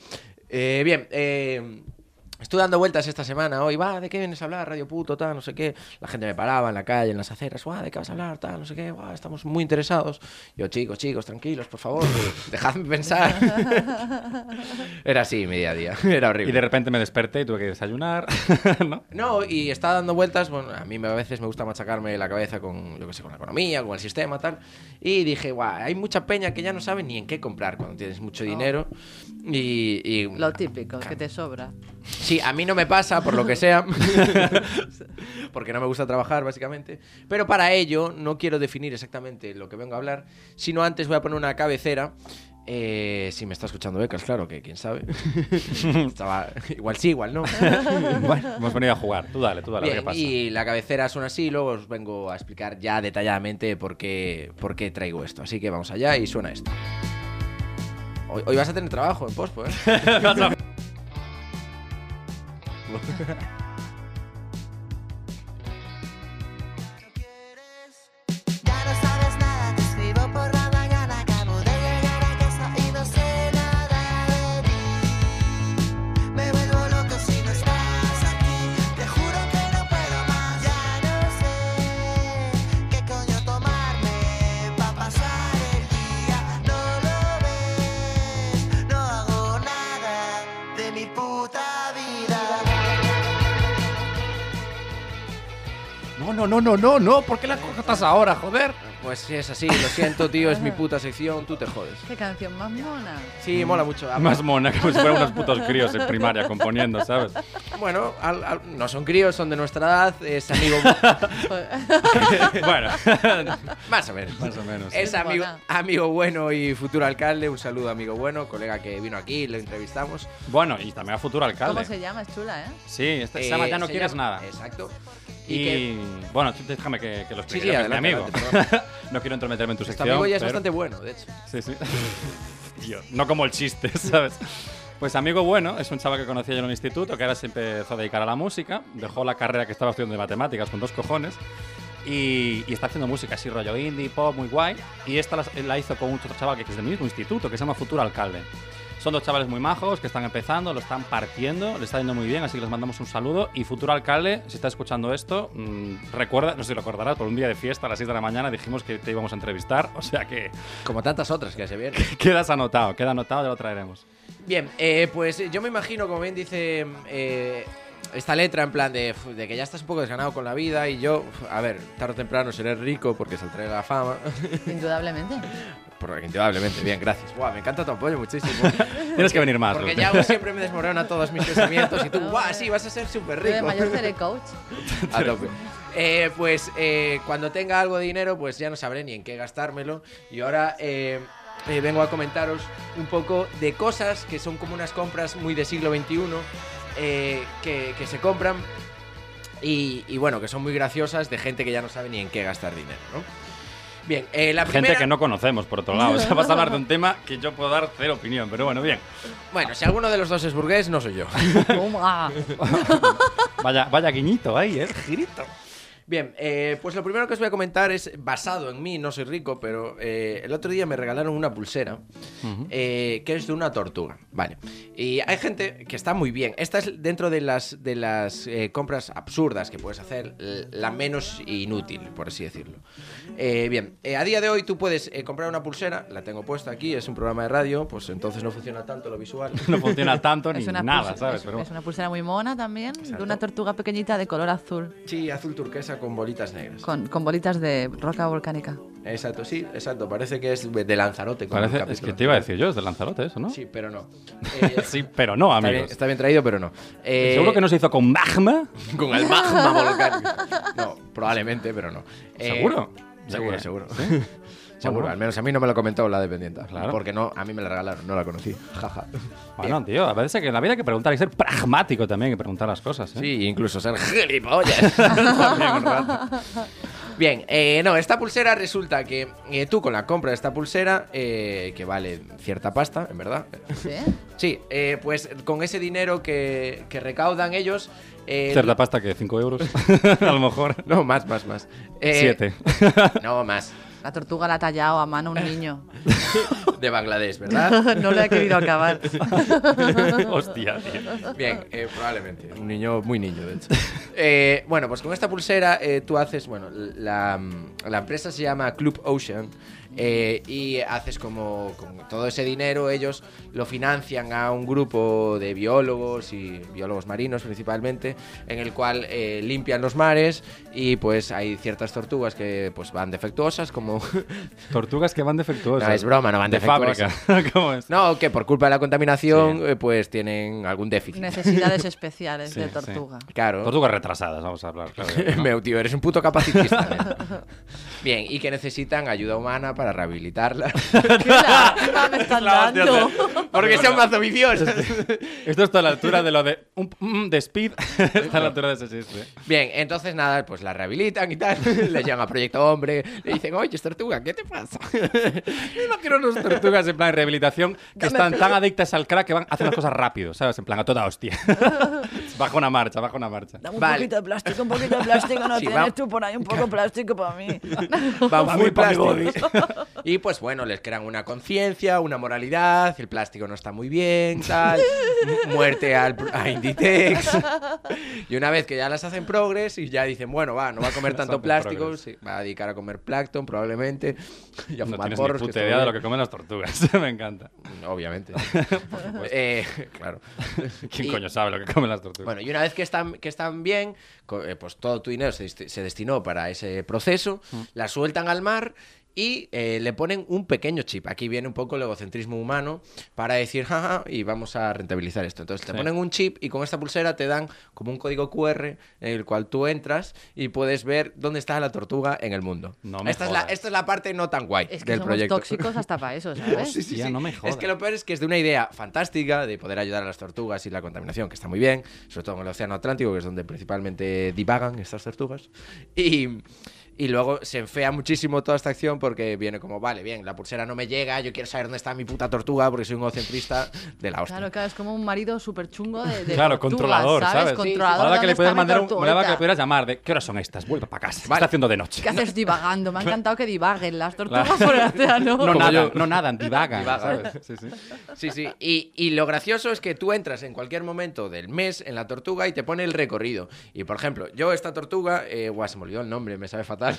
Speaker 2: Eh, bien, eh, Estuve dando vueltas esta semana hoy, va, ¿de qué vienes a hablar? Radio puto, tal, no sé qué. La gente me paraba en la calle, en las aceras, va, ¿de qué vas a hablar? Tal, no sé qué, guau, estamos muy interesados. Yo, chicos, chicos, tranquilos, por favor, que- dejadme pensar. Era así mi día a día, era horrible.
Speaker 1: Y de repente me desperté y tuve que desayunar, ¿no?
Speaker 2: No, y está dando vueltas. Bueno, a mí me- a veces me gusta machacarme la cabeza con, yo qué sé, con la economía, con el sistema, tal. Y dije, guau, hay mucha peña que ya no sabe ni en qué comprar cuando tienes mucho dinero. Y, y-
Speaker 3: Lo típico, que te sobra.
Speaker 2: Sí, a mí no me pasa, por lo que sea. porque no me gusta trabajar, básicamente. Pero para ello, no quiero definir exactamente lo que vengo a hablar, sino antes voy a poner una cabecera. Eh, si me está escuchando Becas, claro, que quién sabe. Estaba- igual sí, igual no.
Speaker 1: Bueno, hemos venido a jugar. Tú dale, tú dale, a ver qué
Speaker 2: Bien,
Speaker 1: pasa.
Speaker 2: y la cabecera son así, luego os vengo a explicar ya detalladamente por qué, por qué traigo esto. Así que vamos allá y suena esto. Hoy, hoy vas a tener trabajo en pospo, ¿eh?
Speaker 7: Ya no sabes nada, te escribo por la mañana. Acabo de llegar a casa y no sé nada de ti. Me vuelvo loco si no estás aquí. Te juro que no
Speaker 1: no, no, no, no, no, ¿por qué la cortas ahora, joder?
Speaker 2: Pues sí, es así, lo siento, tío, es mi puta sección, tú te jodes.
Speaker 3: Qué canción más mona.
Speaker 2: Sí, mola mucho. Ah,
Speaker 1: Mm, Más mona, como si fueran unos putos críos en primaria componiendo, ¿sabes?
Speaker 2: Bueno, al- al- no son críos, son de nuestra edad, es amigo.
Speaker 1: bueno,
Speaker 2: más o menos.
Speaker 1: más o menos.
Speaker 2: Es
Speaker 3: Sí,
Speaker 2: amigo,
Speaker 3: mola.
Speaker 2: amigo bueno y futuro alcalde. Un saludo, amigo bueno, colega que vino aquí, lo entrevistamos.
Speaker 1: Bueno, y también a futuro
Speaker 3: ¿Cómo se
Speaker 1: alcalde.
Speaker 3: llama? Es chula, ¿eh?
Speaker 1: Sí, este, se
Speaker 2: Eh,
Speaker 1: llama Ya no
Speaker 2: se
Speaker 1: quieres
Speaker 2: llama-
Speaker 1: nada.
Speaker 2: Exacto.
Speaker 1: Y,
Speaker 2: Y, que
Speaker 1: bueno, tú déjame que, que lo
Speaker 2: Sí,
Speaker 1: explique.
Speaker 2: sí,
Speaker 1: yo que soy
Speaker 2: adelante,
Speaker 1: amigo.
Speaker 2: adelante,
Speaker 1: no quiero entrometerme en tu
Speaker 2: este
Speaker 1: sección.
Speaker 2: amigo ya es
Speaker 1: pero-
Speaker 2: bastante bueno, de hecho.
Speaker 1: Sí, sí. Yo, no como el chiste, ¿sabes? Pues amigo bueno, es un chaval que conocía yo en el instituto, que ahora se empezó a dedicar a la música, dejó la carrera que estaba estudiando de matemáticas con dos cojones y, y está haciendo música así rollo indie, pop, muy guay. Y esta la, la hizo con otro chaval que es del mismo instituto, que se llama Futuro Alcalde. Son dos chavales muy majos que están empezando, lo están partiendo, le está yendo muy bien, así que les mandamos un saludo. Y futuro alcalde, si está escuchando esto, mm, recuerda, no sé si lo recordarás, por un día de fiesta a las 6 de la mañana dijimos que te íbamos a entrevistar, o sea que
Speaker 2: Como tantas otras que se vienen.
Speaker 1: Quedas anotado, queda anotado, ya lo traeremos.
Speaker 2: Bien, eh, pues eh, yo me imagino, como bien dice eh, esta letra, en plan de, "Fu, de que ya estás un poco desganado con la vida y yo, fu, a ver, tarde o temprano seré rico porque saldré a la fama.
Speaker 3: Indudablemente.
Speaker 2: Porque indudablemente, bien, gracias. Guau, me encanta tu apoyo muchísimo.
Speaker 1: Tienes que venir más,
Speaker 2: Porque
Speaker 1: Ruth.
Speaker 2: ya siempre me desmorona todos mis pensamientos y tú, guau, sí, vas a ser súper
Speaker 3: Yo de
Speaker 2: rico.
Speaker 3: mayor seré coach.
Speaker 2: A tope. Eh, pues eh, cuando tenga algo de dinero, pues ya no sabré ni en qué gastármelo. Y ahora eh, eh, vengo a comentaros un poco de cosas que son como unas compras muy de siglo XXI eh, que, que se compran y, y bueno, que son muy graciosas de gente que ya no sabe ni en qué gastar dinero, ¿no? Bien, eh, la primera...
Speaker 1: Gente que no conocemos, por otro lado. O sea, vas a hablar de un tema que yo puedo dar cero opinión, pero bueno, bien.
Speaker 2: Bueno, si alguno de los dos es burgués, no soy yo.
Speaker 3: Pum, ah.
Speaker 1: Vaya, vaya guiñito ahí, ¿eh? Girito.
Speaker 2: Bien, eh, pues lo primero que os voy a comentar es basado en mí, no soy rico, pero eh, el otro día me regalaron una pulsera eh, que es de una tortuga, vale. Y hay gente que está muy bien. Esta es dentro de las, de las eh, compras absurdas que puedes hacer, l- la menos inútil, por así decirlo. Eh, bien, eh, a día de hoy tú puedes eh, comprar una pulsera, la tengo puesta aquí, es un programa de radio, pues entonces no funciona tanto lo visual.
Speaker 1: No funciona tanto ni
Speaker 3: Es una,
Speaker 1: nada,
Speaker 3: pulsera-
Speaker 1: ¿sabes?
Speaker 3: es-
Speaker 1: Pero
Speaker 3: es una pulsera muy mona también, de una tortuga pequeñita de color azul,
Speaker 2: Sí, azul turquesa con bolitas negras.
Speaker 3: con, con bolitas de roca volcánica.
Speaker 2: Exacto, sí, exacto. Parece que es de Lanzarote. como el
Speaker 1: parece, es
Speaker 2: capítulo
Speaker 1: que te iba a
Speaker 2: anterior.
Speaker 1: decir yo, es de Lanzarote eso, ¿no?
Speaker 2: Sí, pero no. Eh,
Speaker 1: Sí, pero no,
Speaker 2: está, bien,
Speaker 1: amigos.
Speaker 2: está Eh, bien traído, pero no. Eh,
Speaker 1: Seguro que no se hizo con magma.
Speaker 2: Con el magma volcánico. No, probablemente, pero no. Eh,
Speaker 1: ¿Seguro?
Speaker 2: Seguro,
Speaker 1: Ya que-
Speaker 2: seguro.
Speaker 1: Bueno.
Speaker 2: Seguro, al menos a mí no me lo comentó la dependienta.
Speaker 1: Claro.
Speaker 2: Porque no, a mí me la regalaron, no la conocí. Jaja.
Speaker 1: Bueno, tío, a veces que en la vida hay que preguntar, hay que ser pragmático también, hay que preguntar las cosas, ¿eh?
Speaker 2: Sí, incluso ser gilipollas. También un rato. Bien, eh, no, esta pulsera resulta que eh, tú con la compra de esta pulsera, eh, que vale cierta pasta, en verdad,
Speaker 3: ¿Sí?
Speaker 2: Sí, eh, pues con ese dinero que, que recaudan ellos. eh,
Speaker 1: Cierta pasta que 5 euros, a lo mejor.
Speaker 2: No, más, más, más. Eh,
Speaker 1: 7.
Speaker 2: No, más.
Speaker 3: La tortuga la ha tallado a mano un niño.
Speaker 2: De Bangladesh, ¿verdad?
Speaker 3: no le ha querido acabar.
Speaker 1: Hostia, tío.
Speaker 2: Bien, eh, probablemente. Un niño, muy niño, de hecho. Eh, bueno, pues con esta pulsera eh, tú haces, bueno, la, la empresa se llama Club Ocean eh, y haces como, como todo ese dinero, ellos lo financian a un grupo de biólogos y biólogos marinos principalmente, en el cual eh, limpian los mares y pues hay ciertas tortugas que pues van defectuosas, como...
Speaker 1: Tortugas que van defectuosas.
Speaker 2: No, es broma, no van
Speaker 1: de fábrica.
Speaker 2: defectuosas.
Speaker 1: ¿Cómo es?
Speaker 2: No, que por culpa de la contaminación eh, pues tienen algún déficit.
Speaker 3: Necesidades especiales
Speaker 1: Sí,
Speaker 3: de
Speaker 1: sí.
Speaker 3: tortuga.
Speaker 2: Claro.
Speaker 1: Tortugas retrasadas, vamos a hablar. Claro, que no.
Speaker 2: Meu tío, eres un puto capacitista. nena. Bien, y que necesitan ayuda humana para rehabilitarla.
Speaker 3: ¿Qué lástima me están
Speaker 1: La hostia,
Speaker 3: dando?
Speaker 2: Porque son mazo viciosos.
Speaker 1: Esto está a la altura de lo de. Un, mm, de Speed. está a la altura de ese chiste.
Speaker 2: Bien, entonces nada, pues la rehabilitan y tal. Le llama Proyecto Hombre. Le dicen, oye, es tortuga, ¿qué te pasa?
Speaker 1: Me imagino unas tortugas en plan de rehabilitación que están tan adictas al crack que van, hacen las cosas rápido, ¿sabes? En plan, a toda hostia. bajo una marcha, bajo una marcha.
Speaker 8: Dame un
Speaker 2: Vale.
Speaker 8: poquito de plástico, un poquito de plástico. No
Speaker 2: Sí,
Speaker 8: tienes
Speaker 2: va-
Speaker 8: tú por ahí un poco de plástico para mí.
Speaker 2: Van muy plásticos. Y pues bueno, les crean una conciencia, una moralidad. El plástico no está muy bien, tal. mu- Muerte al, pr- a Inditex. Y una vez que ya las hacen progres y ya dicen, bueno, va, no va a comer
Speaker 1: Las
Speaker 2: tanto
Speaker 1: hacen
Speaker 2: plástico,
Speaker 1: progres.
Speaker 2: sí, va a dedicar a comer plancton probablemente. Y a
Speaker 1: No
Speaker 2: fumar
Speaker 1: tienes
Speaker 2: porros.
Speaker 1: ni
Speaker 2: que
Speaker 1: puta
Speaker 2: está
Speaker 1: idea de
Speaker 2: muy
Speaker 1: lo que
Speaker 2: bien.
Speaker 1: comen las tortugas. Me encanta.
Speaker 2: Obviamente. Eh, claro.
Speaker 1: ¿Quién
Speaker 2: Y-
Speaker 1: coño sabe lo que comen las
Speaker 2: Bueno, y una vez que están, que están bien, co- eh, pues todo tu dinero se, desti- se destinó para ese proceso, la sueltan al mar y eh, le ponen un pequeño chip. Aquí viene un poco el egocentrismo humano para decir, jaja, y vamos a rentabilizar esto. Entonces te
Speaker 1: Sí.
Speaker 2: ponen un chip y con esta pulsera te dan como un código QR en el cual tú entras y puedes ver dónde está la tortuga en el mundo.
Speaker 1: No me
Speaker 2: esta, es la,
Speaker 1: jodas.
Speaker 2: esta es la parte no tan guay
Speaker 3: Es que
Speaker 2: del
Speaker 3: somos
Speaker 2: proyecto.
Speaker 3: tóxicos hasta para eso, ¿sabes?
Speaker 2: Sí, sí,
Speaker 1: Hostia,
Speaker 2: sí.
Speaker 1: no me jodas.
Speaker 2: Es que lo peor es que es de una idea fantástica de poder ayudar a las tortugas y la contaminación, que está muy bien, sobre todo en el Océano Atlántico, que es donde principalmente divagan estas tortugas. Y, y luego se enfea muchísimo toda esta acción porque viene como, vale, bien, la pulsera no me llega, yo quiero saber dónde está mi puta tortuga porque soy un egocentrista de la hostia.
Speaker 3: Claro, claro, es como un marido súper chungo de, de
Speaker 1: Claro,
Speaker 3: tortuga,
Speaker 1: controlador, ¿sabes?
Speaker 3: Controlador.
Speaker 1: Molaba que
Speaker 3: ¿dónde
Speaker 1: le pudieras
Speaker 3: está mi
Speaker 1: mandar un- molaba que le
Speaker 3: tortuguita?
Speaker 1: pudieras llamar de ¿qué horas son estas? Vuelva para casa. se
Speaker 2: Vale.
Speaker 1: Está haciendo de noche.
Speaker 3: ¿Qué haces divagando? Me ha encantado que divaguen las tortugas
Speaker 1: Claro.
Speaker 3: por el océano.
Speaker 1: No
Speaker 2: Como
Speaker 1: nadan,
Speaker 2: yo.
Speaker 1: no nadan, divagan.
Speaker 2: Divagan.
Speaker 1: ¿sabes? Sí, sí.
Speaker 2: Sí, sí. Y, y lo gracioso es que tú entras en cualquier momento del mes en la tortuga y te pone el recorrido. Y por ejemplo, yo esta tortuga, eh, guau, se me olvidó el nombre, me sabe fatal.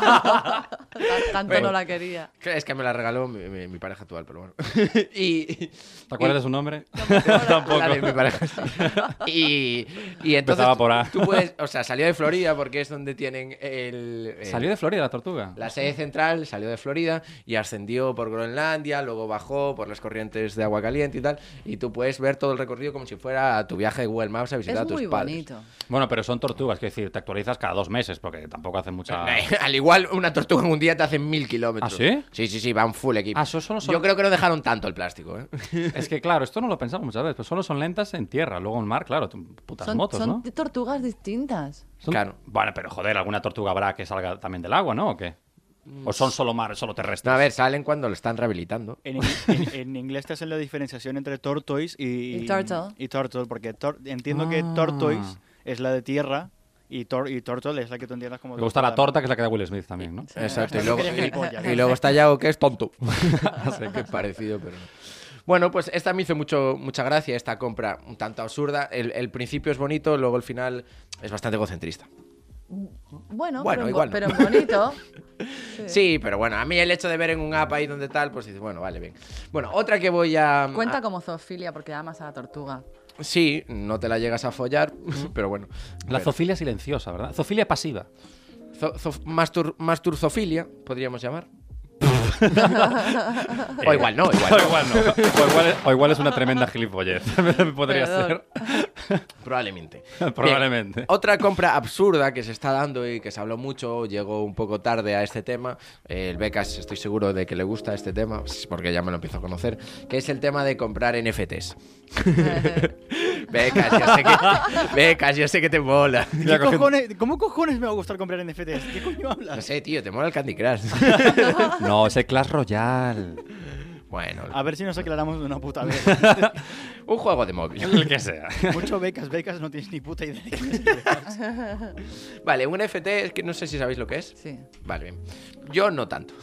Speaker 3: Tan- Tanto
Speaker 2: Bueno.
Speaker 3: no la quería.
Speaker 2: Que Es que me la regaló mi, mi- mi pareja actual, pero bueno. y.
Speaker 1: ¿Te acuerdas de su nombre?
Speaker 2: Tampoco. mi pareja. sí. Y, y entonces.
Speaker 1: Empezaba por A.
Speaker 2: Tú puedes. O sea, salió de Florida porque es donde tienen el. el-
Speaker 1: ¿Salió de Florida la tortuga?
Speaker 2: La sede central salió de Florida y ascendió por Groenlandia, luego bajó por las corrientes de agua caliente y tal. Y tú puedes ver todo el recorrido como si fuera tu viaje de Google Maps a visitar a
Speaker 3: Es
Speaker 2: tus
Speaker 3: muy
Speaker 2: padres.
Speaker 3: bonito.
Speaker 1: Bueno, pero son tortugas, quiero decir, te actualizas cada dos meses porque tampoco hacen mucha.
Speaker 2: Al igual, una tortuga en un día te hace mil kilómetros.
Speaker 1: ¿Ah, sí?
Speaker 2: Sí, sí, sí, van full equipo.
Speaker 1: Ah, eso solo son-
Speaker 2: eh, Yo creo que no dejaron tanto el plástico, ¿eh?
Speaker 1: Es que claro, esto no lo pensamos muchas veces, pero solo son lentas en tierra, luego en mar, claro, tú- putas
Speaker 3: Son,
Speaker 1: motos,
Speaker 3: son
Speaker 1: ¿no?
Speaker 3: tortugas distintas.
Speaker 1: Son-
Speaker 2: Claro.
Speaker 1: Bueno, pero joder, alguna tortuga habrá que salga también del agua, ¿no? ¿O qué? O son solo mar, solo
Speaker 2: Pues No,
Speaker 1: terrestres.
Speaker 2: a ver, salen cuando lo están rehabilitando.
Speaker 5: En, ing- en- en inglés te hacen la diferenciación entre tortoise y,
Speaker 3: Y turtle. Ah.
Speaker 5: y turtle, porque tor- entiendo que tortoise es la de tierra y, tor- y turtle es la que tú entiendas como...
Speaker 1: Me gusta la torta, que es la que da Will Smith también, ¿no?
Speaker 2: Exacto. Y
Speaker 5: Sí,
Speaker 2: luego,
Speaker 5: sí,
Speaker 2: y-
Speaker 5: sí.
Speaker 2: y luego está Yao, que es tonto. Así que parecido, pero no. Bueno, pues esta me hizo mucho, mucha gracia, esta compra un tanto absurda. El, el principio es bonito, luego el final es bastante egocentrista. Bueno,
Speaker 3: Bueno, pero, en bo-
Speaker 2: igual no.
Speaker 3: pero en bonito.
Speaker 2: Sí, pero bueno, a mí el hecho de ver en un app ahí donde tal, pues dices, bueno, vale, bien. Bueno, otra que voy a...
Speaker 3: Cuenta como zoofilia porque amas a la tortuga.
Speaker 2: a- sí, no te la llegas a follar, pero bueno.
Speaker 1: La
Speaker 2: Pero-
Speaker 1: zoofilia silenciosa, ¿verdad? Zoofilia pasiva.
Speaker 2: zo- zo- mastur- masturzofilia, podríamos llamar. o igual no, igual
Speaker 1: O
Speaker 2: no.
Speaker 1: igual no. O igual, es- o igual es una tremenda gilipollez. Podría
Speaker 3: Perdón.
Speaker 2: Probablemente.
Speaker 1: Probablemente.
Speaker 2: Bien, otra compra absurda que se está dando y que se habló mucho, llegó un poco tarde a este tema. eh, El Becas, estoy seguro de que le gusta este tema, pues, porque ya me lo empiezo a conocer, que es el tema de comprar NFTs. Becas, yo sé que, Becas, yo sé que te mola.
Speaker 5: ¿Qué
Speaker 1: Ya cogiendo-
Speaker 5: cojones- ¿Cómo cojones me va a gustar comprar NFTs? ¿Qué coño
Speaker 2: No
Speaker 5: hablas?
Speaker 2: sé, tío, te mola el Candy Crush.
Speaker 1: ser. No, es el Clash Royale.
Speaker 2: Bueno,
Speaker 5: A ver si nos aclaramos de una puta vez.
Speaker 2: un juego de móvil.
Speaker 1: El que sea.
Speaker 5: Mucho becas, becas, no tienes ni puta idea. de quién es.
Speaker 2: Vale, un NFT es que no sé si sabéis lo que es.
Speaker 3: Sí.
Speaker 2: Vale, bien. Yo no tanto.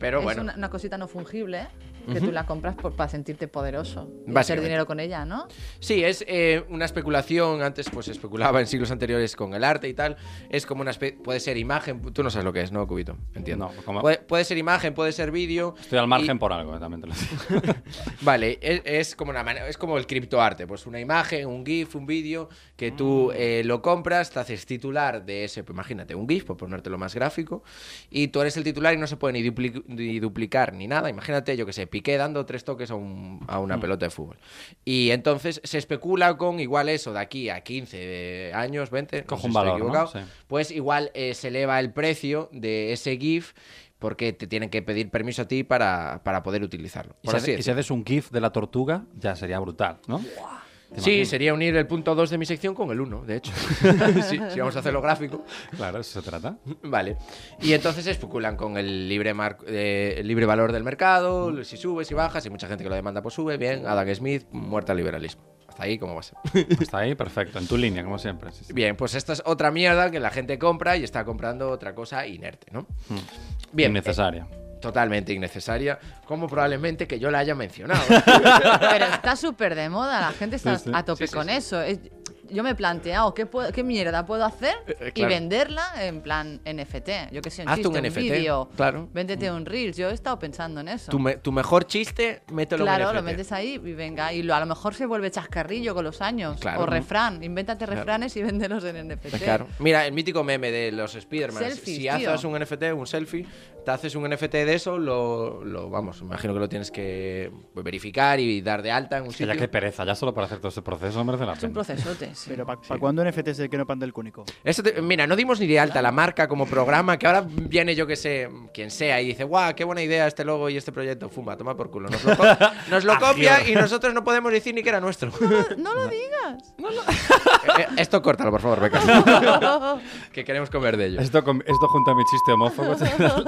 Speaker 2: Pero
Speaker 3: es
Speaker 2: bueno.
Speaker 3: una, una cosita no fungible que tú la compras por- para sentirte poderoso. Y hacer
Speaker 2: Básicamente.
Speaker 3: dinero con ella, ¿no?
Speaker 2: Sí, es eh, una especulación. Antes pues especulaba en siglos anteriores con el arte y tal. Es como una especie... Puede ser imagen. Tú no sabes lo que es, ¿no, Cubito? Entiendo.
Speaker 1: No, como-
Speaker 2: puede, puede ser imagen, puede ser vídeo.
Speaker 1: Estoy al
Speaker 2: y-
Speaker 1: margen por algo, eh, también te lo digo.
Speaker 2: Vale, es, es como una man- es como el criptoarte, pues una imagen, un GIF, un vídeo, que tú
Speaker 1: Ah.
Speaker 2: eh, lo compras, te haces titular de ese, pues imagínate, un GIF, por ponértelo más gráfico, y tú eres el titular y no se puede ni, dupli- ni duplicar ni nada. Imagínate, yo que sé, Piqué dando tres toques a, un- a
Speaker 1: Mm.
Speaker 2: una pelota de fútbol. Y entonces se especula con igual eso, de aquí a 15 años, 20,
Speaker 1: Cojo
Speaker 2: no sé
Speaker 1: un
Speaker 2: si estoy
Speaker 1: valor, ¿no?
Speaker 2: equivocado,
Speaker 1: Sí.
Speaker 2: pues igual eh, se eleva el precio de ese GIF. Porque te tienen que pedir permiso a ti para, para poder utilizarlo.
Speaker 1: Y
Speaker 2: por
Speaker 1: si,
Speaker 2: así
Speaker 1: hace- y si
Speaker 2: decirlo.
Speaker 1: haces un GIF de la tortuga, ya sería brutal, ¿no?
Speaker 2: Sí, sería unir el punto 2 de mi sección con el 1, de hecho. Sí, si vamos a hacerlo gráfico.
Speaker 1: Claro, eso se trata.
Speaker 2: Vale. Y entonces especulan con el libre, mar- eh, el libre valor del mercado, si sube, si baja, si mucha gente que lo demanda, pues sube. Bien, Adam Smith, muerta al liberalismo. Hasta ahí, ¿cómo va a ser?
Speaker 1: Está ahí, perfecto, en tu línea, como siempre. sí, sí.
Speaker 2: Bien, pues esta es otra mierda que la gente compra y está comprando otra cosa inerte, ¿no? Bien.
Speaker 1: Innecesaria.
Speaker 2: eh, totalmente innecesaria, como probablemente que yo la haya mencionado.
Speaker 3: Pero está súper de moda, la gente está
Speaker 1: Sí, sí.
Speaker 3: a tope con eso. Es- yo me he planteado qué, puedo- qué mierda puedo hacer
Speaker 2: eh,
Speaker 3: y
Speaker 2: claro.
Speaker 3: venderla en plan NFT. Yo que sé, un
Speaker 2: Hazte
Speaker 3: chiste,
Speaker 2: un NFT,
Speaker 3: vídeo,
Speaker 2: claro.
Speaker 3: véndete un Reels. Yo he estado pensando en eso.
Speaker 2: Tu, me- tu mejor chiste, mételo
Speaker 3: claro,
Speaker 2: en
Speaker 3: lo
Speaker 2: NFT.
Speaker 3: metes ahí y venga. Y lo- a lo mejor se vuelve chascarrillo con los años.
Speaker 2: Claro.
Speaker 3: O refrán. Invéntate
Speaker 2: Claro.
Speaker 3: refranes y véndelos en NFT.
Speaker 2: Claro. Mira, el mítico meme de los Spider-Man.
Speaker 3: Selfies,
Speaker 2: si haces
Speaker 3: tío.
Speaker 2: un NFT, un selfie, te haces un NFT de eso, lo, lo- vamos, imagino que lo tienes que verificar y dar de alta en un
Speaker 1: Que
Speaker 2: sitio.
Speaker 1: ya que pereza, ya solo para hacer todo ese proceso no merece la
Speaker 3: Es un
Speaker 1: pena.
Speaker 3: procesote. sí.
Speaker 5: Pero ¿para cuándo NFTs de que no panda el cúnico?
Speaker 2: Eso te- mira, no dimos ni de alta la marca como programa, que ahora viene yo que sé, quien sea, y dice, guau, qué buena idea este logo y este proyecto, fuma, toma por culo. Nos lo, co- nos lo copia y nosotros no podemos decir ni que era nuestro.
Speaker 3: No lo digas.
Speaker 2: Eh, Esto córtalo, por favor, Beca. que queremos comer de ello.
Speaker 1: Esto, con- esto junto a mi chiste homófobo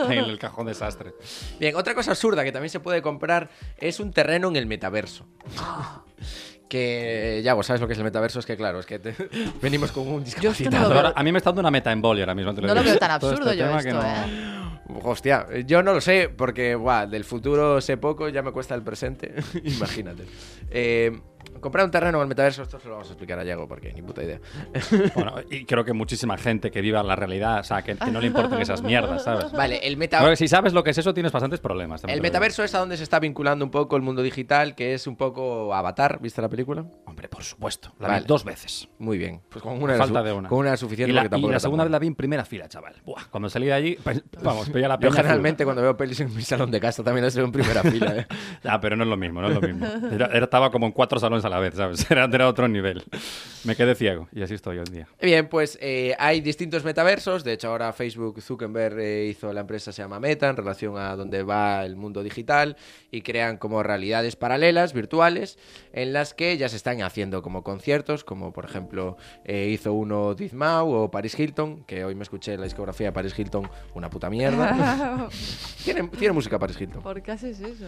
Speaker 1: en el cajón desastre.
Speaker 2: Bien, otra cosa absurda que también se puede comprar es un terreno en el metaverso. Que eh, ya vos sabes lo que es el metaverso, es que claro, es que te- venimos con un
Speaker 3: Yo esto
Speaker 2: discapacitado.
Speaker 3: no lo
Speaker 1: Ahora-
Speaker 3: veo,
Speaker 1: a mí me está dando una meta en boli ahora mismo. te
Speaker 3: no lo
Speaker 1: digo.
Speaker 3: veo tan
Speaker 1: Todo este
Speaker 3: absurdo yo
Speaker 1: tema
Speaker 3: esto,
Speaker 1: que no-
Speaker 3: ¿eh?
Speaker 2: Hostia, yo no lo sé, porque buah, del futuro sé poco, ya me cuesta el presente. Imagínate. Eh, comprar un terreno en el metaverso, esto se lo vamos a explicar a Yago, porque ni puta idea.
Speaker 1: Bueno, y creo que muchísima gente que viva la realidad, o sea, que, que no le importan esas mierdas, ¿sabes?
Speaker 2: Vale, el
Speaker 1: Creo que
Speaker 2: metaverso.
Speaker 1: si sabes lo que es eso, tienes bastantes problemas. también
Speaker 2: El
Speaker 1: te lo digo.
Speaker 2: metaverso es a donde se está vinculando un poco el mundo digital, que es un poco Avatar, ¿viste la película?
Speaker 1: Hombre, por supuesto. La
Speaker 2: Vale.
Speaker 1: vi dos veces.
Speaker 2: Muy bien. Pues con una era
Speaker 1: falta
Speaker 2: su-
Speaker 1: de una.
Speaker 2: Con una era suficiente
Speaker 1: y la,
Speaker 2: porque
Speaker 1: y
Speaker 2: tampoco
Speaker 1: la
Speaker 2: era tan
Speaker 1: segunda vez
Speaker 2: buena.
Speaker 1: la vi en primera fila, chaval. Buah, cuando salí de allí, pe- vamos, veía la
Speaker 2: Yo
Speaker 1: peña azul.
Speaker 2: generalmente cuando veo pelis en mi salón de casa también las veo en primera fila. ¿eh?
Speaker 1: Ah, pero no es lo mismo, no es lo mismo. Era, era- estaba como en cuatro salones a la vez, ¿sabes? Era, era otro nivel. Me quedé ciego y así estoy hoy en día.
Speaker 2: Bien, pues eh, hay distintos metaversos. De hecho, ahora Facebook Zuckerberg eh, hizo la empresa se llama Meta en relación a donde va el mundo digital y crean como realidades paralelas virtuales en las que ya se están haciendo como conciertos, como por ejemplo eh, hizo uno Dizmau o Paris Hilton, que hoy me escuché la discografía de Paris Hilton, una puta mierda. tiene, tiene música Paris Hilton.
Speaker 3: ¿Por qué haces eso?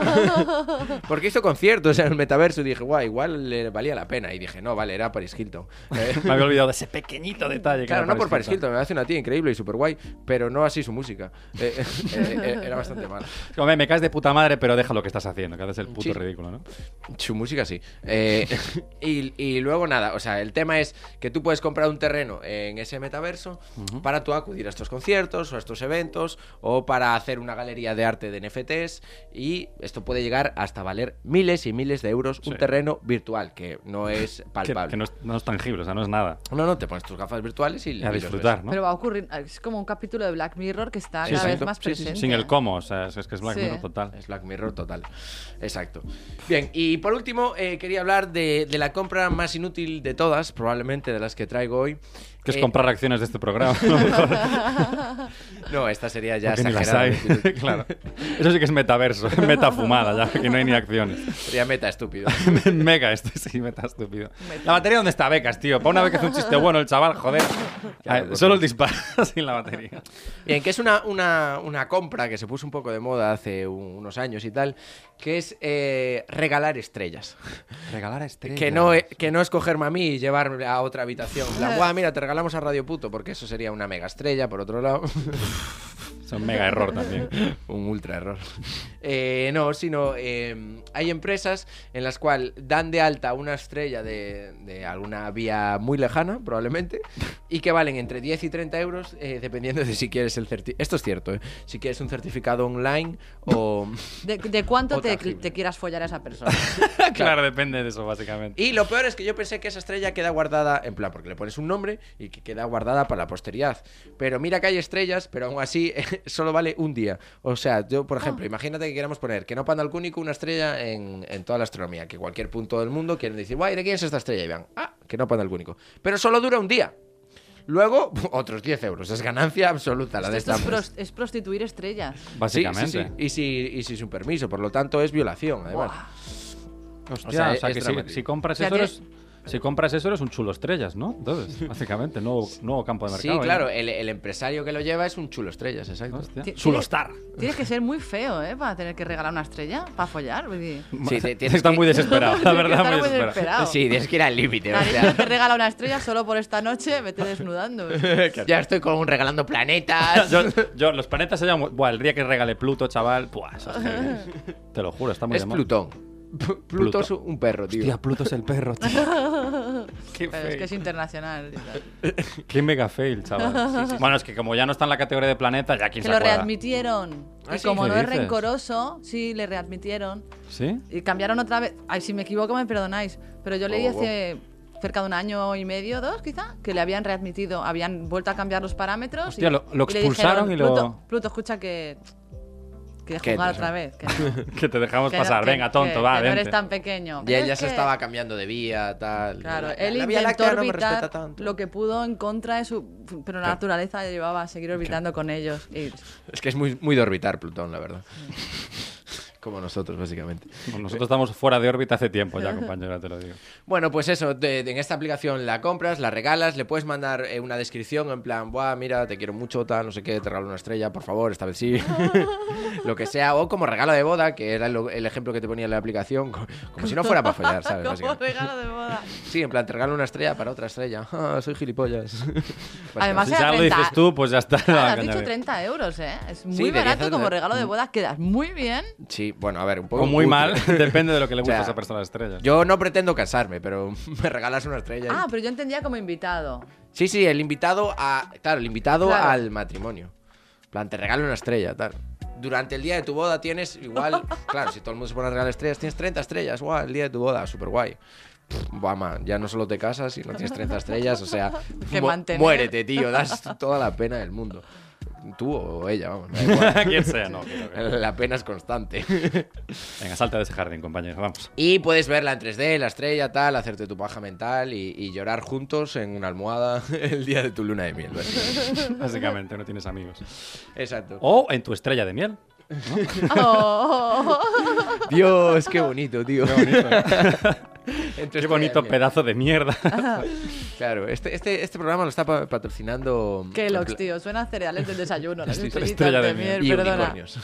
Speaker 2: Por- Porque hizo conciertos en el metaverso y dije, guau, igual le valía la pena. Y dije, no, vale, era Paris Hilton. Eh,
Speaker 1: Me había olvidado de ese pequeñito detalle. que
Speaker 2: claro,
Speaker 1: era
Speaker 2: no por Paris
Speaker 1: parecido.
Speaker 2: Hilton, me hace una tía increíble y súper guay, pero no así su música. Eh, eh, eh, eh, era bastante mala.
Speaker 1: Hombre, me caes de puta madre, pero deja lo que estás haciendo, que haces el puto
Speaker 2: Sí.
Speaker 1: ridículo, ¿no?
Speaker 2: Su música sí. Eh, y, y luego nada, o sea, el tema es que tú puedes comprar un terreno en ese metaverso para tú acudir a estos conciertos o a estos eventos o para hacer una galería de arte de NFTs y esto puede llegar hasta valer miles y miles de euros un
Speaker 1: Sí.
Speaker 2: terreno virtual que no es
Speaker 1: Que,
Speaker 2: palpable.
Speaker 1: que no, es, no es tangible, o sea, no es nada.
Speaker 2: No, no, te pones tus gafas virtuales y, y
Speaker 1: Y
Speaker 2: los
Speaker 1: a disfrutar, ¿no?
Speaker 3: Pero va a ocurrir. Es como un capítulo de Black Mirror que está
Speaker 2: Sí,
Speaker 3: cada vez
Speaker 2: exacto.
Speaker 3: más
Speaker 2: Sí, sí, sí.
Speaker 3: presente.
Speaker 1: Sin el cómo, o sea, es es que es Black
Speaker 3: Sí.
Speaker 1: Mirror
Speaker 2: ves.
Speaker 1: total.
Speaker 2: Es Black Mirror total. Exacto. Bien, y por último, eh, quería hablar de, de la compra más inútil de todas, probablemente de las que traigo hoy.
Speaker 1: Que es
Speaker 2: Eh,
Speaker 1: comprar acciones de este programa. a lo mejor,
Speaker 2: No, esta sería ya
Speaker 1: porque ni las
Speaker 2: exagerada.
Speaker 1: hay. claro. Eso sí que es metaverso, meta fumada, ya, que no hay ni acciones.
Speaker 2: Sería meta estúpido.
Speaker 1: Mega, esto sí, meta estúpido. La batería, ¿dónde está? Becas, tío. Para una vez que hace un chiste bueno el chaval, joder.
Speaker 2: Claro,
Speaker 1: Ah,
Speaker 2: pues
Speaker 1: Solo
Speaker 2: no.
Speaker 1: el disparo sin la batería.
Speaker 2: Bien, que es una, una, una compra que se puso un poco de moda hace un- unos años y tal, que es eh, regalar estrellas.
Speaker 1: Regalar estrellas.
Speaker 2: Que no, e- que no escogerme a mí y llevarme a otra habitación. En plan, "Guau, mira, te regalamos a Radio Puto, porque eso sería una mega estrella, por otro lado.
Speaker 1: Es un mega error también.
Speaker 2: Un ultra error. Eh, no, sino eh, hay empresas en las cuales dan de alta una estrella de, de alguna vía muy lejana, probablemente, y que valen entre 10 y 30 euros, eh, dependiendo de si quieres el certificado. Esto es cierto, ¿eh? Si quieres un certificado online o.
Speaker 3: De, de cuánto
Speaker 2: O
Speaker 3: te,
Speaker 2: tangible.
Speaker 3: te quieras follar a esa persona.
Speaker 1: claro, depende de eso, básicamente.
Speaker 2: Y lo peor es que yo pensé que esa estrella queda guardada, en plan, porque le pones un nombre y que queda guardada para la posteridad. Pero mira que hay estrellas, pero aún así solo vale un día. O sea, yo,
Speaker 3: Ah.
Speaker 2: por ejemplo, imagínate que queramos poner que no panda al cúnico una estrella en, en toda la astronomía, que cualquier punto del mundo quieren decir, guay, ¿de quién es esta estrella? Y van, ah, que no panda al cúnico. Pero solo dura un día. Luego, otros 10 euros. Es ganancia absoluta la de
Speaker 3: Esto
Speaker 2: esta
Speaker 3: es,
Speaker 2: empresa.
Speaker 3: pros- es prostituir estrellas.
Speaker 2: Sí, sí,
Speaker 1: Básicamente.
Speaker 2: sí. Y, si, y sin su permiso, por lo tanto es violación, además.
Speaker 1: Hostia,
Speaker 2: O sea, es
Speaker 1: que si,
Speaker 2: dramático.
Speaker 1: si compras
Speaker 3: O sea,
Speaker 1: eso eres... Si compras eso eres un chulo estrellas, ¿no? Entonces, básicamente, nuevo, nuevo campo de
Speaker 2: Sí,
Speaker 1: mercado. ¿eh?
Speaker 2: claro, el, el empresario que lo lleva es un chulo estrellas, exacto.
Speaker 1: Hostia.
Speaker 3: Ti-
Speaker 1: Chulo
Speaker 3: tiene-
Speaker 1: Star.
Speaker 3: Tienes que ser muy feo, ¿eh? Para tener que regalar una estrella, para follar. pues vull dir.
Speaker 2: Sí, te- tienes
Speaker 1: Está
Speaker 2: que-
Speaker 1: muy desesperado, la
Speaker 3: Tienes que
Speaker 1: verdad,
Speaker 3: estar
Speaker 1: muy
Speaker 3: muy
Speaker 1: desesperado.
Speaker 3: desesperado.
Speaker 2: Sí, tienes que ir al límite. O
Speaker 3: Cariño, te
Speaker 2: sea,
Speaker 3: regala una estrella solo por esta noche, vete desnudando.
Speaker 2: ya estoy con un regalando planetas.
Speaker 1: Yo, yo- los planetas se llaman. Buah, el día que regale Pluto, chaval. Buah, eso es heavy. Te lo juro, está muy
Speaker 2: es
Speaker 1: de moda.
Speaker 2: Plutón. P- Pluto es un perro, tío.
Speaker 1: Hostia, Pluto es el perro, tío.
Speaker 3: tal.
Speaker 1: Qué
Speaker 3: pero es
Speaker 1: feo.
Speaker 3: que es internacional. y tal.
Speaker 1: Qué mega fail, chaval. Bueno, es que como ya no está en la categoría de planeta, ya quién
Speaker 3: Que
Speaker 1: se
Speaker 3: lo
Speaker 1: acuerda.
Speaker 3: readmitieron.
Speaker 2: Ah,
Speaker 3: y
Speaker 2: sí.
Speaker 3: como
Speaker 1: ¿Qué
Speaker 3: no es
Speaker 1: dices?
Speaker 3: rencoroso, sí, le readmitieron.
Speaker 1: ¿Sí?
Speaker 3: Y cambiaron otra vez. Ay, si me equivoco, me perdonáis. Pero yo leí
Speaker 2: Oh, wow.
Speaker 3: hace cerca de un año y medio, dos quizá, que le habían readmitido, habían vuelto a cambiar los parámetros.
Speaker 1: Hostia,
Speaker 3: y,
Speaker 1: lo- lo
Speaker 3: y le
Speaker 1: expulsaron
Speaker 3: dijeron,
Speaker 1: y lo-
Speaker 3: Pluto, Pluto, escucha que. Que
Speaker 2: Que
Speaker 3: jugar
Speaker 2: te-
Speaker 3: otra vez. Que, no,
Speaker 1: que te dejamos
Speaker 3: que no-
Speaker 1: pasar.
Speaker 3: que-
Speaker 1: Venga, tonto,
Speaker 3: que-
Speaker 1: va,
Speaker 3: que no
Speaker 1: vente.
Speaker 3: eres tan pequeño.
Speaker 2: Y
Speaker 3: Pero
Speaker 2: ella
Speaker 3: es
Speaker 2: se
Speaker 3: que-
Speaker 2: estaba cambiando de vía, tal.
Speaker 3: Claro,
Speaker 2: La-
Speaker 3: él
Speaker 2: la Vía
Speaker 3: intentó
Speaker 2: Láctea no me respeta
Speaker 3: orbitar
Speaker 2: tanto.
Speaker 3: lo que pudo en contra de su. Pero la naturaleza le llevaba a seguir orbitando con ellos. Y
Speaker 2: Es que es muy, muy de orbitar Plutón, la verdad. Como nosotros, básicamente.
Speaker 1: Bueno, Nosotros estamos fuera de órbita hace tiempo ya, compañera, te lo digo.
Speaker 2: Bueno, pues eso, de- de- en esta aplicación la compras, la regalas, le puedes mandar eh, una descripción en plan, buah, mira, te quiero mucho, tal, no sé qué, te regalo una estrella, por favor, esta vez sí. lo que sea, o como regalo de boda, que era lo- el ejemplo que te ponía en la aplicación, co- como si no fuera para follar, ¿sabes?
Speaker 3: como
Speaker 2: Básicamente.
Speaker 3: regalo de boda.
Speaker 2: Sí, en plan, te regalo una estrella para otra estrella. Ah, soy gilipollas. Pues
Speaker 3: Además,
Speaker 1: Si
Speaker 3: era
Speaker 1: ya lo
Speaker 3: 30.
Speaker 1: dices tú, pues ya está.
Speaker 3: Claro,
Speaker 1: la
Speaker 3: Ah, has dicho
Speaker 1: caña.
Speaker 3: 30 euros, ¿eh? Es muy
Speaker 2: debería
Speaker 3: barato
Speaker 2: ser
Speaker 3: como
Speaker 2: de-
Speaker 3: regalo de bodas. Quedas muy bien.
Speaker 2: Sí, bueno, a ver, un poco...
Speaker 1: o muy
Speaker 2: cutre.
Speaker 1: mal, depende de lo que le guste
Speaker 2: O sea,
Speaker 1: a esa persona de estrellas.
Speaker 2: Yo no pretendo casarme, pero me regalas una estrella. y-
Speaker 3: Ah, pero yo entendía como invitado.
Speaker 2: Sí, sí, el invitado a. Claro, el invitado
Speaker 3: Claro.
Speaker 2: al matrimonio. En plan, te regalo una estrella, tal. Durante el día de tu boda tienes igual. claro, si todo el mundo se pone a regalar estrellas, tienes 30 estrellas. Guau, el día de tu boda, súper guay. Vamos, ya no solo te casas, sino tienes 30 estrellas. O sea,
Speaker 3: Que
Speaker 2: mu-
Speaker 3: mantener.
Speaker 2: muérete, tío. Das toda la pena del mundo. Tú o ella, vamos. da igual.
Speaker 1: Quien sea, no. creo que-
Speaker 2: La pena es constante.
Speaker 1: Venga, salta de ese jardín, compañero. Vamos.
Speaker 2: Y puedes verla en 3D, la estrella, tal, hacerte tu paja mental y, y llorar juntos en una almohada el día de tu luna de miel. básicamente.
Speaker 1: Básicamente, no tienes amigos.
Speaker 2: Exacto.
Speaker 1: O en tu estrella de miel.
Speaker 3: Oh.
Speaker 2: Dios, qué bonito, tío. Qué bonito,
Speaker 1: Qué bonito pedazo de mierda.
Speaker 2: Claro, este, este, este programa lo está pa- patrocinando.
Speaker 3: Qué lox, tío. Suena a cereales del desayuno. Las
Speaker 1: Sí, sí.
Speaker 3: estrellitas
Speaker 1: Estrella de
Speaker 3: de
Speaker 1: miel.
Speaker 3: miel,
Speaker 2: Y
Speaker 3: perdona.
Speaker 2: unicornios.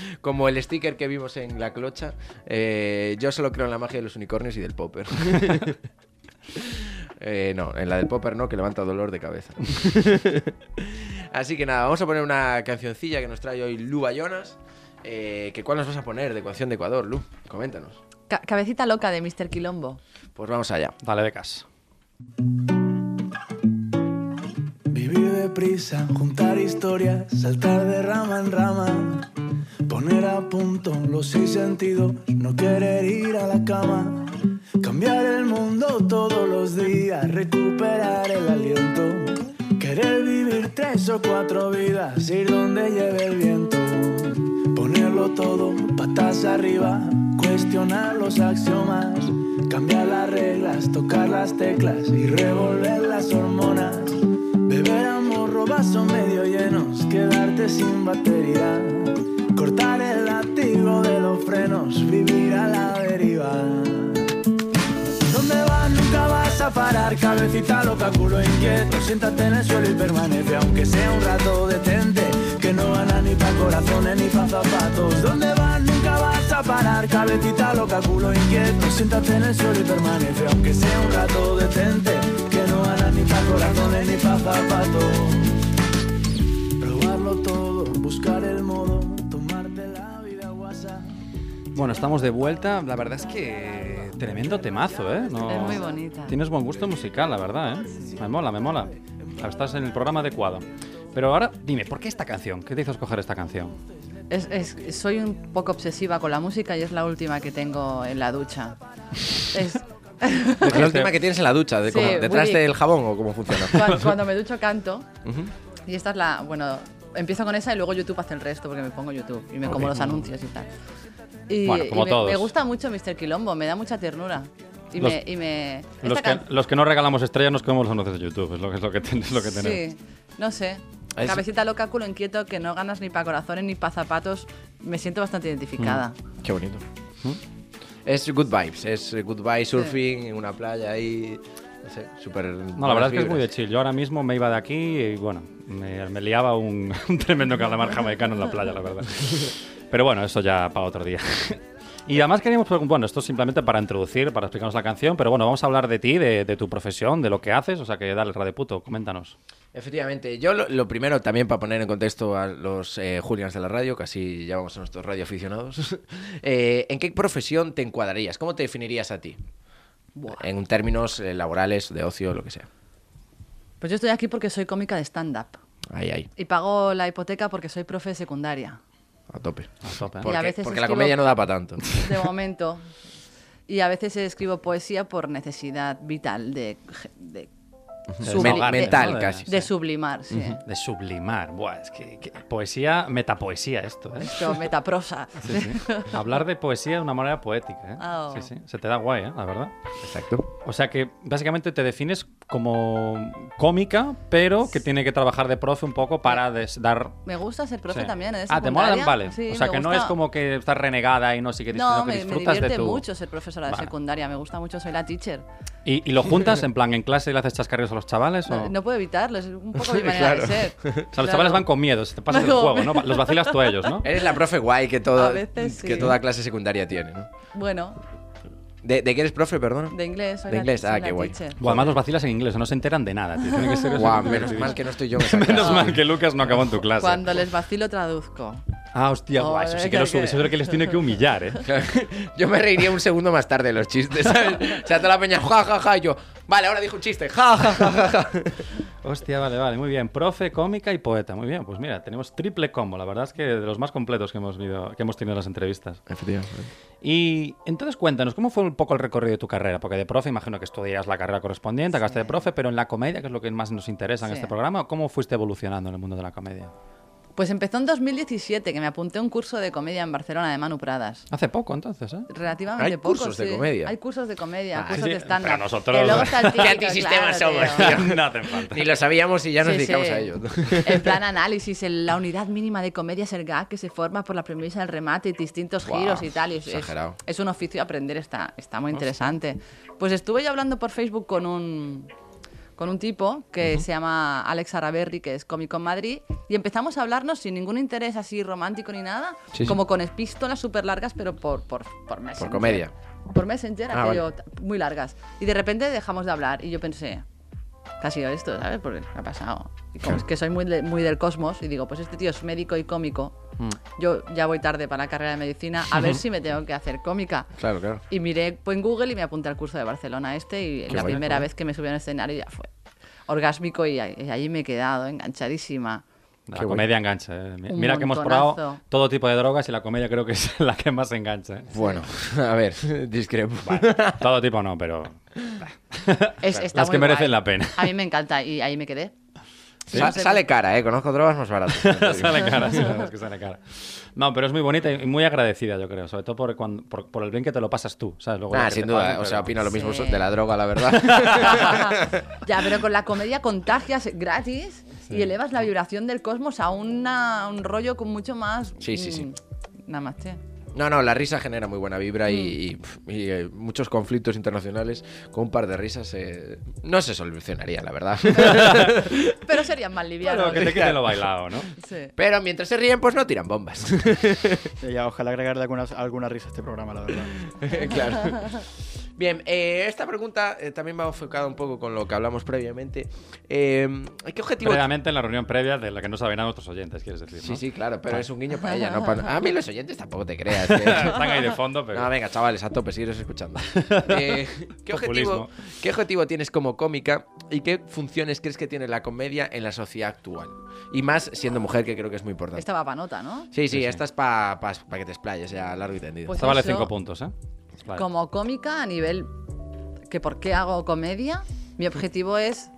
Speaker 2: Como el sticker que vimos en La Clocha. eh, yo solo creo en la magia de los unicornios y del popper. Eh, no, en la del popper no, que levanta dolor de cabeza. Así que nada, vamos a poner una cancioncilla que nos trae hoy Lu Bayonas. Eh, que ¿Cuál nos vas a poner de canción de Ecuador, Lu? Coméntanos.
Speaker 3: Ca- cabecita loca de Mr. Quilombo.
Speaker 2: Pues vamos allá.
Speaker 1: Dale, becas.
Speaker 6: Vivir deprisa, juntar historias, saltar de rama en rama, poner a punto los seis sentidos, no querer ir a la cama, cambiar el mundo todos los días, recuperar el aliento, querer vivir tres o cuatro vidas, ir donde lleve el viento, ponerlo todo patas arriba, cuestionar los axiomas, cambiar las reglas, tocar las teclas y revolver las hormonas. Beber a morro, vaso medio llenos, quedarte sin batería. Cortar el latigo de los frenos, vivir a la deriva. ¿Dónde vas? Nunca vas a parar, cabecita loca, culo inquieto. Siéntate en el suelo y permanece, aunque sea un rato detente. Que no gana ni pa' corazones ni pa' zapatos. ¿Dónde vas? Nunca vas a parar, cabecita loca, culo inquieto. Siéntate en el suelo y permanece, aunque sea un rato detente. Que no gana ni pa' corazones ni pa' zapatos. Probarlo todo, buscar el modo, tomarte la vida guasa.
Speaker 1: Bueno, estamos de vuelta. La verdad es que tremendo temazo, ¿eh? No-
Speaker 3: Es muy bonita.
Speaker 1: Tienes buen gusto musical, la verdad, ¿eh? Me mola, me mola. Estás en el programa adecuado. Pero ahora, dime, ¿por qué esta canción? ¿Qué te hizo escoger esta canción?
Speaker 3: Es- es- soy un poco obsesiva con la música y es la última que tengo en la ducha. Es-
Speaker 2: Este Es
Speaker 1: Este-
Speaker 2: la última que tienes en la ducha, de
Speaker 3: Sí,
Speaker 2: como- detrás
Speaker 3: Willy.
Speaker 2: del jabón o cómo funciona.
Speaker 3: Cuan- cuando, me ducho canto. Y esta es la. Bueno, empiezo con esa y luego YouTube hace el resto porque me pongo YouTube y me como los anuncios y tal. Y,
Speaker 1: Bueno, como
Speaker 3: y me,
Speaker 1: todos.
Speaker 3: me gusta mucho Mr. Quilombo, me da mucha ternura. Y
Speaker 1: Los-
Speaker 3: me. y me- esta
Speaker 1: Los que,
Speaker 3: can-
Speaker 1: los que no regalamos estrellas nos comemos los anuncios de YouTube, es lo que, es lo que, ten- es lo que tenemos.
Speaker 3: Sí, no sé.
Speaker 2: Es-
Speaker 3: Cabecita loca, culo inquieto, que no ganas ni para corazones ni para zapatos. Me siento bastante identificada.
Speaker 1: Mm.
Speaker 2: Qué bonito. Es good vibes, es good vibes surfing en una playa ahí. No sé, súper.
Speaker 1: No, la verdad es que es muy de chill. Yo ahora mismo me iba de aquí y, bueno, me, me liaba un, un tremendo calamar jamaicano en la playa, la verdad. Pero bueno, eso ya para otro día. Y además queríamos, pregun- bueno, esto es simplemente para introducir, para explicarnos la canción, pero bueno, vamos a hablar de ti, de, de tu profesión, de lo que haces, o sea que dale, radio puto, coméntanos.
Speaker 2: Efectivamente, yo lo, lo primero también para poner en contexto a los eh, Julians de la radio, casi llamamos a nuestros radioaficionados. eh, ¿En qué profesión te encuadrarías? ¿Cómo te definirías a ti? En términos eh, laborales, de ocio, lo que sea.
Speaker 3: Pues yo estoy aquí porque soy cómica de stand-up.
Speaker 2: Ahí, ahí,
Speaker 3: Y pago la hipoteca porque soy profe de secundaria.
Speaker 2: a tope.
Speaker 1: A tope. ¿eh?
Speaker 3: Y a
Speaker 2: Porque,
Speaker 3: veces
Speaker 2: porque la
Speaker 3: escribo-
Speaker 2: comedia no da para tanto.
Speaker 3: De momento. Y a veces escribo poesía por necesidad vital de, de, subli-
Speaker 2: Men-
Speaker 3: de-
Speaker 2: mental,
Speaker 1: ¿no? De-
Speaker 2: casi.
Speaker 3: de sublimar, sí.
Speaker 1: De sublimar. Buah, es que, que poesía, metapoesía esto, ¿eh?
Speaker 3: Esto, metaprosa.
Speaker 1: Sí, sí. Hablar de poesía de una manera poética, ¿eh?
Speaker 3: Ah, oh.
Speaker 1: Sí, sí. Se te da guay, ¿eh? La verdad.
Speaker 2: Exacto.
Speaker 1: O sea que básicamente te defines como cómica, pero que tiene que trabajar de profe un poco para des- dar...
Speaker 3: Me gusta ser profe
Speaker 1: sí.
Speaker 3: también. ¿eh?
Speaker 1: Ah, ¿te mola?
Speaker 3: Secundaria.
Speaker 1: Vale.
Speaker 3: Sí,
Speaker 1: o sea
Speaker 3: me
Speaker 1: que no
Speaker 3: gusta.
Speaker 1: es como que estás renegada y no sé qué
Speaker 3: No,
Speaker 1: que
Speaker 3: me, me
Speaker 1: disfrutas
Speaker 3: divierte
Speaker 1: de tu...
Speaker 3: mucho ser profesora de
Speaker 1: Vale.
Speaker 3: secundaria. Me gusta mucho, soy la teacher.
Speaker 1: ¿Y, y lo juntas en plan en clase y le haces chascarrillos a los chavales?
Speaker 3: No,
Speaker 1: o...
Speaker 3: no puedo evitarlo, es un poco mi manera de ser. O sea,
Speaker 1: O sea, los chavales van con miedo, se te pasas el
Speaker 3: No. Eh,
Speaker 1: juego, ¿no? Los vacilas tú a ellos, ¿no?
Speaker 2: Eres la profe guay que, todo,
Speaker 3: A veces sí.
Speaker 2: que toda clase secundaria tiene, ¿no?
Speaker 3: Bueno,
Speaker 2: ¿De, de qué eres profe, perdón?
Speaker 3: de inglés. Soy
Speaker 2: De
Speaker 3: la-
Speaker 2: inglés,
Speaker 3: soy
Speaker 2: ah,
Speaker 3: la
Speaker 2: qué guay.
Speaker 3: teacher.
Speaker 1: O además los vacilas en inglés, no se enteran de nada, tío. Tiene que ser eso.
Speaker 2: Guau, menos mal que no estoy yo. en esa
Speaker 1: Menos
Speaker 2: clase.
Speaker 1: mal que Lucas no acabó en tu clase.
Speaker 3: Cuando les vacilo, traduzco.
Speaker 1: Ah, hostia, guau, eso sí que lo
Speaker 3: Joder,
Speaker 1: subes, eso es lo que les tiene que humillar, ¿eh?
Speaker 2: Claro, Yo me reiría un segundo más tarde de los chistes, ¿sabes? O sea, toda la peña, ja, ja, ja, y yo, vale, ahora dijo un chiste, ja, ja, ja, ja, ja.
Speaker 1: Hostia, vale, vale, muy bien. Profe, cómica y poeta. Muy bien, pues mira, tenemos triple combo. La verdad es que de los más completos que hemos, vivido- que hemos tenido en las entrevistas. Y entonces cuéntanos, ¿cómo fue un poco el recorrido de tu carrera? Porque de profe imagino que estudias la carrera correspondiente, acabaste de profe, pero en la comedia, que es lo que más nos interesa en
Speaker 3: Sí.
Speaker 1: este programa, ¿cómo fuiste evolucionando en el mundo de la comedia?
Speaker 3: Pues empezó en 2017, que me apunté a un curso de comedia en Barcelona de Manu Pradas.
Speaker 1: Hace poco, entonces, ¿eh?
Speaker 3: Relativamente
Speaker 2: Hay
Speaker 3: poco,
Speaker 2: cursos de
Speaker 3: sí.
Speaker 2: comedia.
Speaker 3: Hay cursos de comedia,
Speaker 1: Ah,
Speaker 3: cursos
Speaker 1: sí,
Speaker 3: de stand-up.
Speaker 1: pero nosotros-
Speaker 3: Que luego está
Speaker 2: Qué
Speaker 3: el típico,
Speaker 2: antisistema
Speaker 3: claro,
Speaker 2: somos,
Speaker 3: tío.
Speaker 1: no hace falta.
Speaker 2: Ni lo sabíamos y ya nos
Speaker 3: Sí,
Speaker 2: dedicamos
Speaker 3: sí.
Speaker 2: a ello.
Speaker 3: En plan análisis, el- la unidad mínima de comedia es el gag que se forma por la premisa del remate y distintos
Speaker 2: Guau,
Speaker 3: giros y tal. y es, es-
Speaker 2: exagerado.
Speaker 3: es un oficio aprender, está, está muy interesante. Pues estuve yo hablando por Facebook con un, con un tipo que se llama Alex Araberri, que es cómico en Madrid, y empezamos a hablarnos sin ningún interés así romántico ni nada,
Speaker 2: Sí, sí.
Speaker 3: como con epístolas súper largas, pero por, por, por Messenger.
Speaker 2: comedia.
Speaker 3: Por Messenger,
Speaker 2: Ah,
Speaker 3: aquello t- muy largas. Y de repente dejamos de hablar y yo pensé, ¿qué ha sido esto? ¿Sabes? Porque me ha pasado. Y como es que soy muy, de- muy del cosmos y digo, pues este tío es médico y cómico.
Speaker 1: Mm.
Speaker 3: Yo ya voy tarde para la carrera de medicina, a ver si me tengo que hacer cómica.
Speaker 2: Claro, claro.
Speaker 3: Y miré en Google y me apunté al curso de Barcelona este y la
Speaker 2: guay,
Speaker 3: primera vez que me subí a un escenario ya fue orgásmico y, ahí- y allí me he quedado enganchadísima.
Speaker 1: La
Speaker 2: Qué
Speaker 1: comedia engancha. eh. Mi-
Speaker 3: Un
Speaker 1: Mira que hemos
Speaker 3: montonazo.
Speaker 1: probado todo tipo de drogas y la comedia creo que es la que más engancha. eh.
Speaker 2: Bueno, a ver, discrepo.
Speaker 1: Todo tipo no, pero
Speaker 3: Es, está
Speaker 1: las que
Speaker 3: muy
Speaker 1: merecen
Speaker 3: guay.
Speaker 1: la pena.
Speaker 3: A mí me encanta y ahí me quedé.
Speaker 2: Sa- Sale cara, ¿eh? Conozco drogas más baratas.
Speaker 1: sale cara, sí, la verdad es que sale cara. No, pero es muy bonita y muy agradecida, yo creo. Sobre todo por, cuando- por, por el bien que te lo pasas tú, ¿sabes? Luego lo
Speaker 2: Nada,
Speaker 1: que
Speaker 2: Ah, sin
Speaker 1: te
Speaker 2: duda. ¿eh?
Speaker 1: pasa,
Speaker 2: O sea,
Speaker 1: pero-
Speaker 2: opino lo mismo
Speaker 3: Sí.
Speaker 2: de la droga, la verdad.
Speaker 3: ya, pero con la comedia contagias gratis y elevas la vibración del cosmos a una- un rollo con mucho más.
Speaker 2: Sí, sí, sí.
Speaker 3: mm, Nada más, che.
Speaker 2: No, no, la risa genera muy buena vibra y, y, pf, y, eh, muchos conflictos internacionales con un par de risas eh, no se solucionaría, la verdad.
Speaker 3: Pero serían más livianos.
Speaker 1: Claro, que te quite lo bailado, ¿no?
Speaker 3: Sí.
Speaker 2: Pero mientras se ríen, pues no tiran bombas.
Speaker 5: Ya, ya, ojalá agregarle algunas, alguna risa a este programa, la verdad.
Speaker 2: claro. Bien, eh, esta pregunta eh, también va enfocada un poco con lo que hablamos previamente. Eh, ¿Qué objetivo?
Speaker 1: Previamente en la reunión previa de la que no saben nada nuestros oyentes, quieres decir,
Speaker 2: Sí,
Speaker 1: ¿no?
Speaker 2: sí, claro, pero es un guiño para ella, no para... A mí los oyentes tampoco te creas. eh.
Speaker 1: Están ahí de fondo, pero...
Speaker 2: No, venga, chavales, a tope, sigues escuchando. Eh, ¿qué, objetivo,
Speaker 1: Populismo.
Speaker 2: ¿Qué objetivo tienes como cómica y qué funciones crees que tiene la comedia en la sociedad actual? Y más siendo mujer, que creo que es muy importante.
Speaker 3: Esta va pa' nota, ¿no?
Speaker 2: Sí, sí, esta es para que te explayes ya largo y tendido.
Speaker 3: Pues
Speaker 1: Esta vale
Speaker 3: eso,
Speaker 1: 5 puntos, ¿eh? Vale.
Speaker 3: Como cómica a nivel que por qué hago comedia, mi objetivo es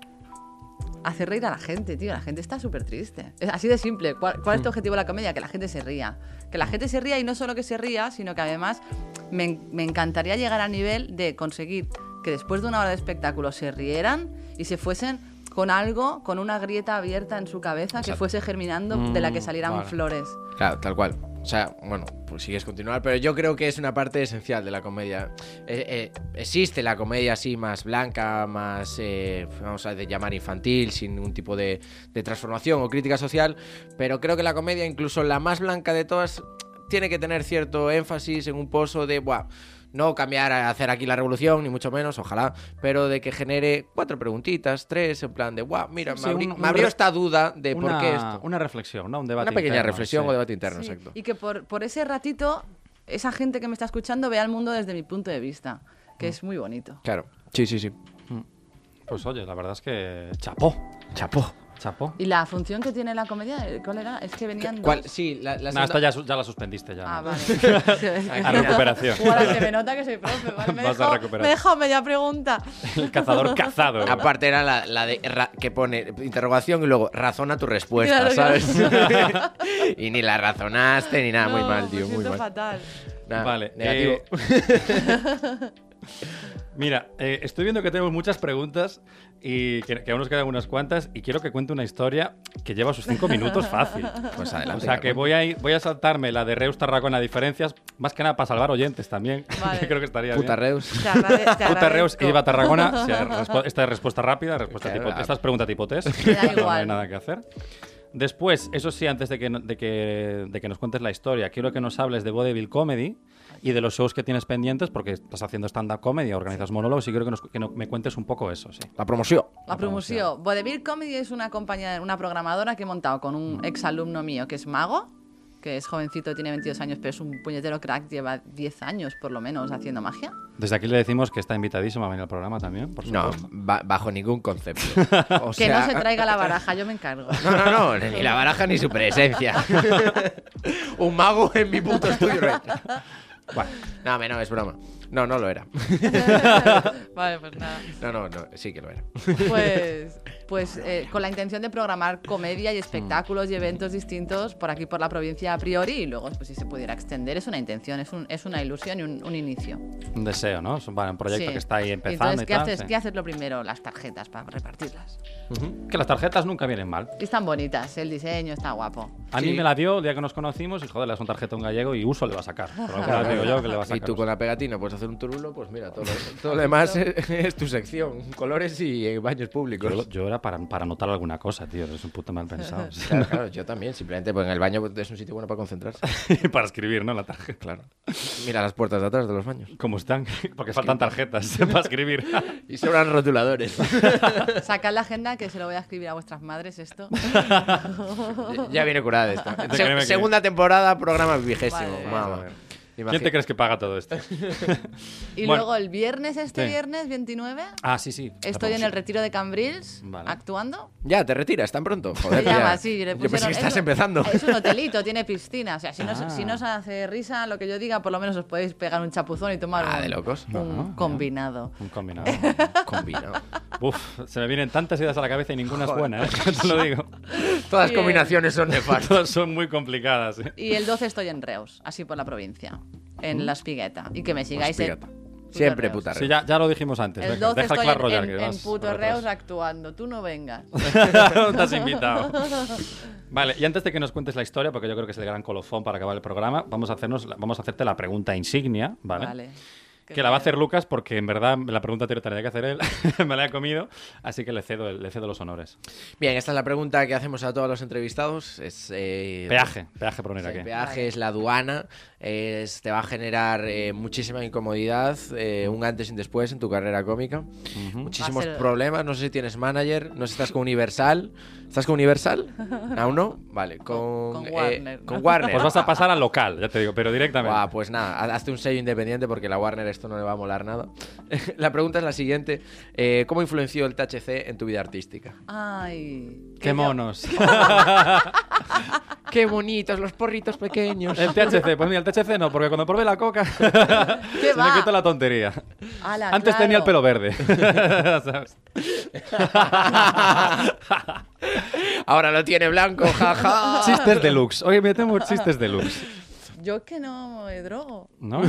Speaker 3: hacer reír a la gente, tío. La gente está súper triste. Es así de simple. ¿Cuál, cuál es
Speaker 1: Mm.
Speaker 3: tu objetivo de la comedia? Que la gente se ría. Que la gente se ría y no solo que se ría, sino que además me, en- me encantaría llegar al nivel de conseguir que después de una hora de espectáculo se rieran y se fuesen con algo, con una grieta abierta en su cabeza que fuese germinando de la que salieran
Speaker 1: Mm, vale.
Speaker 3: flores.
Speaker 2: Claro, tal cual. O sea, bueno, pues sigues continuar, pero yo creo que es una parte esencial de la comedia. Eh, eh, existe la comedia así más blanca, más, eh, vamos a de llamar infantil, sin ningún tipo de, de transformación o crítica social, pero creo que la comedia, incluso la más blanca de todas, tiene que tener cierto énfasis en un pozo de, buah, no cambiar a hacer aquí la revolución, ni mucho menos, ojalá, pero de que genere cuatro preguntitas, tres, en plan de, buah, mira,
Speaker 1: Sí,
Speaker 2: me, abrí-
Speaker 1: un- un
Speaker 2: me abrió
Speaker 1: re-
Speaker 2: esta duda de por
Speaker 1: Una-
Speaker 2: qué esto.
Speaker 1: Una reflexión, ¿no? Un debate
Speaker 2: Una pequeña
Speaker 1: interno,
Speaker 2: reflexión
Speaker 1: sí.
Speaker 2: o debate interno,
Speaker 3: Sí,
Speaker 2: exacto.
Speaker 3: Y que por, por ese ratito, esa gente que me está escuchando vea el mundo desde mi punto de vista.
Speaker 2: Mm.
Speaker 3: que es muy bonito.
Speaker 2: Claro. Sí, sí, sí.
Speaker 1: Pues oye, la verdad es que chapó,
Speaker 2: Chapó.
Speaker 1: chapó.
Speaker 3: ¿Y la función que tiene la comedia? eh, ¿Cuál era? Es que venían
Speaker 2: ¿Cuál?
Speaker 3: dos.
Speaker 2: Sí, la, la
Speaker 1: No,
Speaker 2: segunda-
Speaker 1: esta ya, su- ya la suspendiste ya.
Speaker 3: Ah, vale. A
Speaker 1: A recuperación.
Speaker 3: Ahora se me nota que soy profe. ¿vale? Me,
Speaker 1: Vas a
Speaker 3: dejó,
Speaker 1: recuperar.
Speaker 3: me dejó media pregunta.
Speaker 1: El cazador cazado.
Speaker 2: Aparte era la, la de ra- que pone interrogación y luego razona tu respuesta,
Speaker 3: Claro,
Speaker 2: ¿sabes? y ni la razonaste ni nada, muy
Speaker 3: No, pues
Speaker 2: mal,
Speaker 3: me
Speaker 2: tío, muy
Speaker 3: siento
Speaker 2: mal.
Speaker 3: fatal.
Speaker 2: Nada,
Speaker 1: Vale,
Speaker 2: Ah, negativo.
Speaker 1: eh, Mira, eh, estoy viendo que tenemos muchas preguntas y que, que aún nos quedan unas cuantas y quiero que cuente una historia que lleva sus cinco minutos fácil.
Speaker 2: Pues
Speaker 1: O
Speaker 2: adelante.
Speaker 1: sea que
Speaker 2: Carmen.
Speaker 1: voy a, ir- voy a saltarme la de Reus Tarragona diferencias, más que nada para salvar oyentes también,
Speaker 3: Vale.
Speaker 1: que creo que estaría
Speaker 2: Puta
Speaker 1: bien.
Speaker 2: Reus.
Speaker 3: Te agrade- te
Speaker 1: Puta Reus
Speaker 3: agradezco.
Speaker 1: iba a Tarragona. O sea, respo- esta es respuesta rápida, respuesta
Speaker 2: Claro,
Speaker 1: tipo,
Speaker 2: la-
Speaker 1: esta es pregunta tipo test.
Speaker 3: da
Speaker 1: no, no hay
Speaker 3: igual.
Speaker 1: nada que hacer. Después, eso sí, antes de que, no- de, que, de que nos cuentes la historia, quiero que nos hables de Vaudeville Comedy y de los shows que tienes pendientes, porque estás haciendo stand-up comedy, organizas monólogos, y quiero que, nos- que no- me cuentes un poco eso, sí.
Speaker 2: La promoción.
Speaker 3: La promoció. Vodevil Comedy es una compañía, una programadora que he montado con un
Speaker 1: Mm.
Speaker 3: exalumno mío que es mago, que es jovencito, tiene 22 años, pero es un puñetero crack, lleva 10 años por lo menos
Speaker 1: Mm.
Speaker 3: haciendo magia.
Speaker 1: Desde aquí le decimos que está invitadísima a venir al programa también, por
Speaker 2: No,
Speaker 1: supuesto.
Speaker 2: ba- bajo ningún concepto. O
Speaker 3: que no
Speaker 2: sea-
Speaker 3: se traiga la baraja, yo me encargo.
Speaker 2: No, no, no, ni la baraja ni su presencia. Un mago en mi puto estudio. Bueno, no, hombre, no, es broma. No, no lo era.
Speaker 3: vale, pues nada.
Speaker 2: No, no, no, sí que lo era.
Speaker 3: Pues, pues eh, con la intención de programar comedia
Speaker 1: Mm.
Speaker 3: y espectáculos y eventos distintos por aquí, por la provincia a priori, y luego, pues, si se pudiera extender, es una intención, es, un- es una ilusión y un, un inicio.
Speaker 1: Un deseo, ¿no? Es un, vale, un proyecto
Speaker 3: Sí.
Speaker 1: que está ahí empezando
Speaker 3: Entonces,
Speaker 1: y
Speaker 3: ¿qué
Speaker 1: tal,
Speaker 3: haces,
Speaker 1: sí.
Speaker 3: ¿qué haces lo primero? Las tarjetas para repartirlas.
Speaker 1: Ujú. Que las tarjetas nunca vienen mal.
Speaker 3: Y están bonitas, el diseño está guapo.
Speaker 1: A mí
Speaker 2: Sí.
Speaker 1: me la dio el día que nos conocimos y joder, le das un tarjeta a un gallego y uso le va a sacar. Por lo cual digo yo que le va a
Speaker 2: Y
Speaker 1: sacar.
Speaker 2: tú con la pegatina puedes hacer un turulo, pues mira, todo lo, todo lo demás es, es tu sección. Colores y eh, baños públicos.
Speaker 1: Yo, yo era para, para anotar alguna cosa, tío. Es un puto mal pensado.
Speaker 2: Claro, claro, yo también. Simplemente pues, en el baño es un sitio bueno para concentrarse.
Speaker 1: para escribir, ¿no? La tarjeta. Claro.
Speaker 2: Mira las puertas de atrás de los baños.
Speaker 1: ¿Cómo están? Porque faltan tarjetas para escribir.
Speaker 2: Y sobran rotuladores.
Speaker 3: Sacad la agenda que se lo voy a escribir a vuestras madres esto.
Speaker 2: ya viene curada esta.
Speaker 1: Te créeme que-
Speaker 2: segunda temporada, programa vigésimo.
Speaker 3: Vale.
Speaker 2: mamá.
Speaker 1: ¿Quién te crees que paga todo esto?
Speaker 3: Y
Speaker 1: Bueno.
Speaker 3: luego el viernes, este
Speaker 1: Sí.
Speaker 3: viernes 29,
Speaker 1: Ah, sí, sí.
Speaker 3: estoy en el retiro de Cambrils
Speaker 1: Vale.
Speaker 3: actuando.
Speaker 2: Ya, te retiras tan pronto.
Speaker 3: Se
Speaker 2: Joder,
Speaker 3: llama
Speaker 2: ya.
Speaker 3: así. le
Speaker 2: Yo
Speaker 3: pusieron-
Speaker 2: pensé que
Speaker 3: es
Speaker 2: estás
Speaker 3: un-
Speaker 2: empezando.
Speaker 3: Es un hotelito, tiene piscina. O sea, si no,
Speaker 1: Ah.
Speaker 3: si no os hace risa lo que yo diga, por lo menos os podéis pegar un chapuzón y tomar
Speaker 2: Ah,
Speaker 3: un,
Speaker 2: de locos.
Speaker 3: un
Speaker 1: Ajá, ya.
Speaker 3: combinado.
Speaker 1: Un combinado.
Speaker 2: Combinado.
Speaker 1: Uf, se me vienen tantas ideas a la cabeza y ninguna es buena, ¿eh? Te lo digo.
Speaker 2: Todas
Speaker 3: Bien.
Speaker 2: combinaciones son nefastas.
Speaker 1: Todas son muy complicadas, ¿eh?
Speaker 3: Y el 12 estoy en Reus, así por la provincia, en La Espigueta. Y que me sigáis en...
Speaker 2: Espírate. ¿Mm? Siempre
Speaker 3: Reus.
Speaker 2: puta
Speaker 1: Sí,
Speaker 2: regla.
Speaker 1: ya, ya lo dijimos antes.
Speaker 3: El
Speaker 1: Venga,
Speaker 3: 12
Speaker 1: deja el
Speaker 3: estoy
Speaker 1: Clash
Speaker 3: en,
Speaker 1: Royale.
Speaker 3: en-
Speaker 1: que
Speaker 3: en
Speaker 1: vas
Speaker 3: puto
Speaker 1: para atrás.
Speaker 3: Reus actuando. Tú no vengas.
Speaker 1: te has invitado. Vale, y antes de que nos cuentes la historia, porque yo creo que es el gran colofón para acabar el programa, vamos a, hacernos, la- vamos a hacerte la pregunta insignia, ¿vale?
Speaker 3: Vale.
Speaker 1: Que la va a hacer Lucas porque en verdad la pregunta te la tenía que hacer él, me la he comido, así que le cedo, el- le cedo los honores.
Speaker 2: Bien, esta es la pregunta que hacemos a todos los entrevistados. Es, eh,
Speaker 1: Peaje, peaje por
Speaker 2: es
Speaker 1: venir
Speaker 2: el
Speaker 1: aquí.
Speaker 2: peaje, es la aduana. es- te va a generar eh, muchísima incomodidad, eh, un antes y un después en tu carrera cómica. Muchísimos
Speaker 3: Va a ser-
Speaker 2: problemas. No sé si tienes manager, no sé si estás con Universal. ¿Estás con Universal? ¿Aún no? Vale, con,
Speaker 3: con
Speaker 2: eh,
Speaker 3: Warner, ¿no?
Speaker 2: con Warner.
Speaker 1: Pues vas a pasar al local, ya te digo, pero directamente.
Speaker 2: Buah, pues nada, ha- hazte un sello independiente porque la Warner esto no le va a molar nada. la pregunta es la siguiente: eh, ¿Cómo influenció el THC en tu vida artística?
Speaker 3: Ay. que
Speaker 1: ¡Qué
Speaker 3: yo-
Speaker 1: monos!
Speaker 2: ¡Qué bonitos los porritos pequeños!
Speaker 1: El THC, pues mira, el THC no, porque cuando probé la coca se me
Speaker 3: va?
Speaker 1: quitó la tontería.
Speaker 3: Ala,
Speaker 1: Antes tenía el
Speaker 3: claro.
Speaker 1: pelo verde. ¿Sabes?
Speaker 2: Ahora lo tiene blanco, jaja.
Speaker 3: Ah.
Speaker 1: Chistes deluxe. Oye, metemos chistes deluxe.
Speaker 3: Yo que no me drogo.
Speaker 1: ¿No?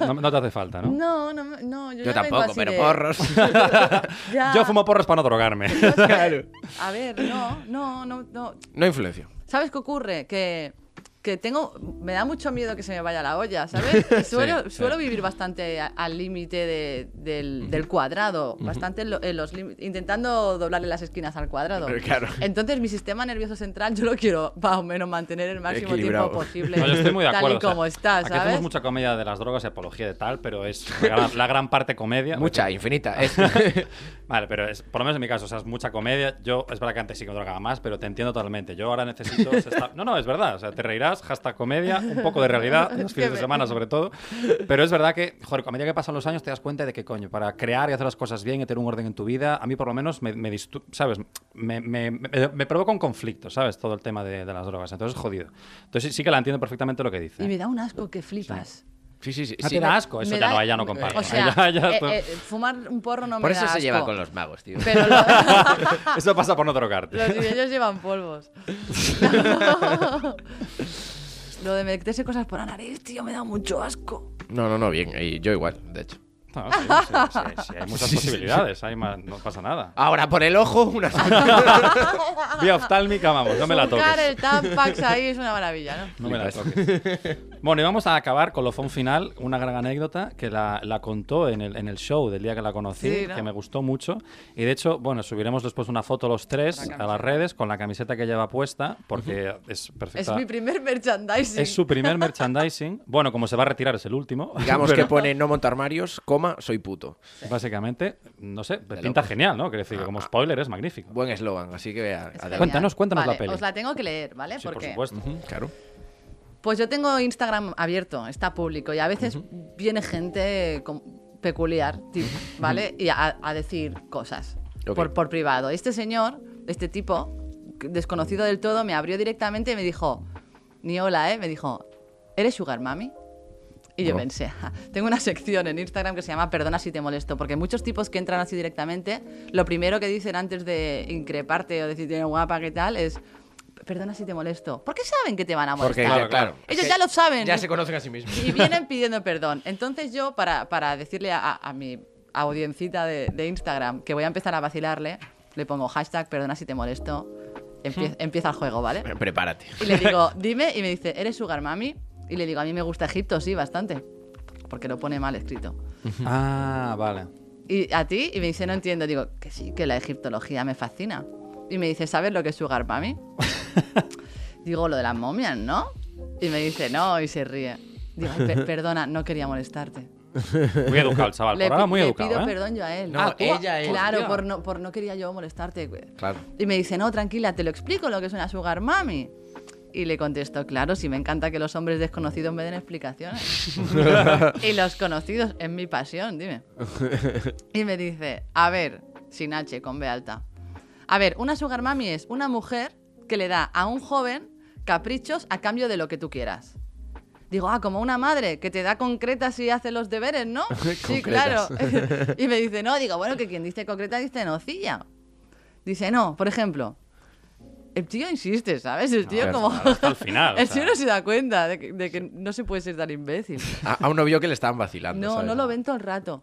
Speaker 1: No, no te hace falta, ¿no?
Speaker 3: No, no, me- no yo,
Speaker 2: Yo
Speaker 3: ya vengo
Speaker 2: tampoco,
Speaker 3: así
Speaker 2: pero
Speaker 3: de-
Speaker 2: porros.
Speaker 3: Ya.
Speaker 1: Yo fumo porros para no drogarme.
Speaker 3: A ver, no, no, no, no.
Speaker 2: No influenció.
Speaker 3: ¿Sabes qué ocurre? Que, que tengo. Me da mucho miedo que se me vaya la olla, ¿sabes? Y Suelo,
Speaker 1: sí.
Speaker 3: suelo vivir bastante a- al límite de- del, del cuadrado, bastante en lo- en los límites, intentando doblarle las esquinas al cuadrado.
Speaker 2: Pero claro.
Speaker 3: Entonces, mi sistema nervioso central yo lo quiero más o menos mantener el máximo
Speaker 2: Equilibrado.
Speaker 3: tiempo posible.
Speaker 1: No, yo estoy muy de acuerdo.
Speaker 3: Tal y
Speaker 1: o sea,
Speaker 3: como está,
Speaker 1: Aquí hacemos
Speaker 3: ¿sabes?
Speaker 1: mucha comedia de las drogas y apología de tal, pero es la gran, la gran parte comedia.
Speaker 2: Mucha, infinita. Es-
Speaker 1: Vale, pero es, por lo menos en mi caso, o sea, es mucha comedia. Yo, es verdad que antes sí que me drogaba más, pero te entiendo totalmente. Yo ahora necesito. se está- No, no, es verdad. O sea, te reirás, más, hashtag comedia, un poco de realidad, los fines de semana sobre todo. Pero es verdad que, joder, a medida que pasan los años te das cuenta de que, coño, para crear y hacer las cosas bien y tener un orden en tu vida, a mí por lo menos me, me distu- ¿sabes? Me, me- me- me provoca un conflicto, ¿sabes? Todo el tema de, de las drogas. Entonces es jodido. Entonces sí, sí que la entiendo perfectamente lo que dice.
Speaker 3: Y me da un asco que flipas.
Speaker 2: Sí, sí, sí.
Speaker 1: Ah,
Speaker 2: sí. eh,
Speaker 1: te da asco, eso
Speaker 3: Me
Speaker 1: ya,
Speaker 3: da-
Speaker 1: no, ya no comparto.
Speaker 3: O sea,
Speaker 1: Ya- ya
Speaker 3: eh,
Speaker 1: esto-
Speaker 3: eh, fumar un porro no
Speaker 2: Por
Speaker 3: me da
Speaker 2: eso se lleva
Speaker 3: asco.
Speaker 2: con los magos, tío.
Speaker 3: Pero lo-
Speaker 1: Eso pasa por no drogarte.
Speaker 3: los niños llevan polvos. Lo de meterse cosas por la nariz, tío, me da mucho asco.
Speaker 2: No, no, no, bien. Y yo igual, de hecho.
Speaker 1: No, sí, sí, sí, sí, hay muchas posibilidades, hay más, no pasa nada.
Speaker 2: Ahora por el ojo, una.
Speaker 1: Vía oftálmica, vamos, no me la
Speaker 3: Surcar
Speaker 1: toques.
Speaker 3: el Tampax ahí es una maravilla, ¿no?
Speaker 1: No me la toques. Bueno, y vamos a acabar con lo fun final, una gran anécdota que la, la contó en el, en el show del día que la conocí,
Speaker 3: Sí, ¿no?
Speaker 1: que me gustó mucho. Y de hecho, bueno, subiremos después una foto los tres a las redes con la camiseta que lleva puesta, porque es
Speaker 3: Es
Speaker 1: perfecta.
Speaker 3: mi primer merchandising.
Speaker 1: Es su primer merchandising. Bueno, como se va a retirar, es el último.
Speaker 2: Digamos
Speaker 1: pero-
Speaker 2: que pone no monto armarios, coma, soy puto.
Speaker 1: Básicamente, no sé, pinta
Speaker 2: locos.
Speaker 1: genial, ¿no? Quiero
Speaker 3: Ah,
Speaker 1: decir, que como spoiler es magnífico.
Speaker 2: Buen eslogan, así que vea.
Speaker 3: Es
Speaker 2: adelante.
Speaker 3: genial.
Speaker 1: Cuéntanos, cuéntanos la
Speaker 3: Vale,
Speaker 1: peli.
Speaker 3: Os la tengo que leer, ¿vale?
Speaker 1: Sí, por
Speaker 3: Porque-
Speaker 1: supuesto.
Speaker 2: Claro.
Speaker 3: Pues yo tengo Instagram abierto, está público y a veces viene gente con- peculiar, tipo, ¿vale? Y a, a decir cosas
Speaker 2: Ok.
Speaker 3: por, por privado. Este señor, este tipo, que- desconocido del todo, me abrió directamente y me dijo, ni hola, ¿eh? Me dijo, ¿eres Sugar Mami? Y yo
Speaker 2: Oh.
Speaker 3: pensé, "Ja". tengo una sección en Instagram que se llama Perdona si te molesto, porque muchos tipos que entran así directamente, lo primero que dicen antes de increparte o decirte guapa, ¿qué tal? es, perdona si te molesto. ¿Por qué saben que te van a
Speaker 2: Porque,
Speaker 3: molestar?
Speaker 2: ya, claro.
Speaker 3: Ellos ya lo saben.
Speaker 2: Ya se conocen a sí mismos.
Speaker 3: Y vienen pidiendo perdón. Entonces yo, para, para decirle a, a mi audiencita de, de Instagram que voy a empezar a vacilarle, le pongo hashtag perdona si te molesto. Empie- empieza el juego, ¿vale?
Speaker 2: Bueno, Prepárate.
Speaker 3: Y le digo, dime, y me dice, ¿eres Sugar Mami? Y le digo, a mí me gusta Egipto, sí, bastante. Porque lo pone mal escrito.
Speaker 1: Ah, vale.
Speaker 3: ¿Y a ti? Y me dice, no entiendo. Digo, que sí, que la egiptología me fascina. Y me dice, ¿sabes lo que es Sugar Mami? Digo, lo de las momias, ¿no? Y me dice, no, y se ríe. Digo, "Ay, per- perdona, no quería molestarte.
Speaker 1: Muy educado el chaval, por
Speaker 3: pi-
Speaker 1: ahora muy
Speaker 3: le
Speaker 1: educado,
Speaker 3: pido
Speaker 1: ¿eh?
Speaker 3: perdón yo a él.
Speaker 2: No, Ah, tú- ella es,
Speaker 3: Claro,
Speaker 2: hostia.
Speaker 3: por no, por no quería yo molestarte. güey.
Speaker 2: Claro.
Speaker 3: Y me dice, no, tranquila, te lo explico lo que es una sugar mami. Y le contesto, claro, si me encanta que los hombres desconocidos me den explicaciones. y los conocidos es mi pasión, dime. Y me dice, a ver, sin H, con B alta. A ver, una sugar mami es una mujer que le da a un joven caprichos a cambio de lo que tú quieras. Digo, ah, como una madre que te da concretas y hace los deberes, ¿no? sí, claro.
Speaker 2: Concretas.
Speaker 3: y me dice, no, digo, bueno, que quien dice concreta dice nocilla. Dice, no, por ejemplo, el tío insiste, ¿sabes? El tío
Speaker 2: claro,
Speaker 3: como...
Speaker 1: Hasta el final. o
Speaker 3: El
Speaker 1: sea.
Speaker 3: tío no se da cuenta de que, de que no se puede ser tan imbécil.
Speaker 2: A, a un novio que le estaban vacilando.
Speaker 3: No,
Speaker 2: ¿sabes?
Speaker 3: no lo ven todo el rato.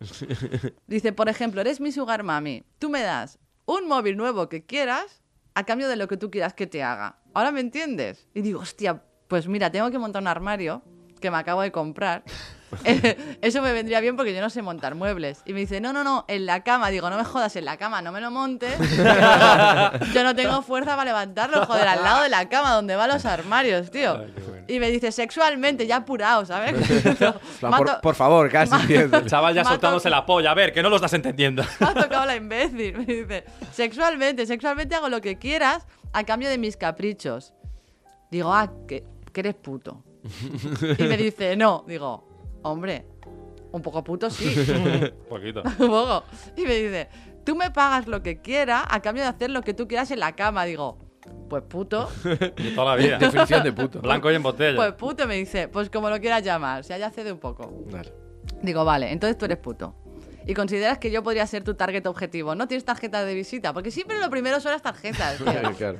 Speaker 3: Dice, por ejemplo, eres mi sugar mami. Tú me das un móvil nuevo que quieras a cambio de lo que tú quieras que te haga. ¿Ahora me entiendes? Y digo, hostia, pues mira, tengo que montar un armario que me acabo de comprar. Eh, Eso me vendría bien porque yo no sé montar muebles. Y me dice, no, no, no, en la cama. Digo, no me jodas, en la cama, no me lo montes. Yo no tengo fuerza para levantarlo, joder, al lado de la cama donde van los armarios, tío. Y me dice, sexualmente, ya apurado, ¿sabes?
Speaker 2: Por- Por, favor, casi. entiendo.
Speaker 1: El chaval ya
Speaker 3: Mato-
Speaker 1: soltándose la polla. A ver, que no lo estás entendiendo.
Speaker 3: me ha tocado la imbécil. Me dice, sexualmente, sexualmente hago lo que quieras a cambio de mis caprichos. Digo, ah, que, que eres puto. Y me dice, no. Digo, hombre, un poco puto sí,
Speaker 1: Un poquito.
Speaker 3: un poco. Y me dice, tú me pagas lo que quiera a cambio de hacer lo que tú quieras en la cama. Digo, pues puto.
Speaker 1: Y toda la vida.
Speaker 2: Definición de puto.
Speaker 1: Blanco y en botella.
Speaker 3: Pues puto me dice, pues como lo quieras llamar, si ya cede un poco.
Speaker 2: Vale.
Speaker 3: Digo, vale, entonces tú eres puto. Y consideras que yo podría ser tu target objetivo. No tienes tarjeta de visita, porque siempre lo primero son las tarjetas. tío.
Speaker 2: Claro, claro.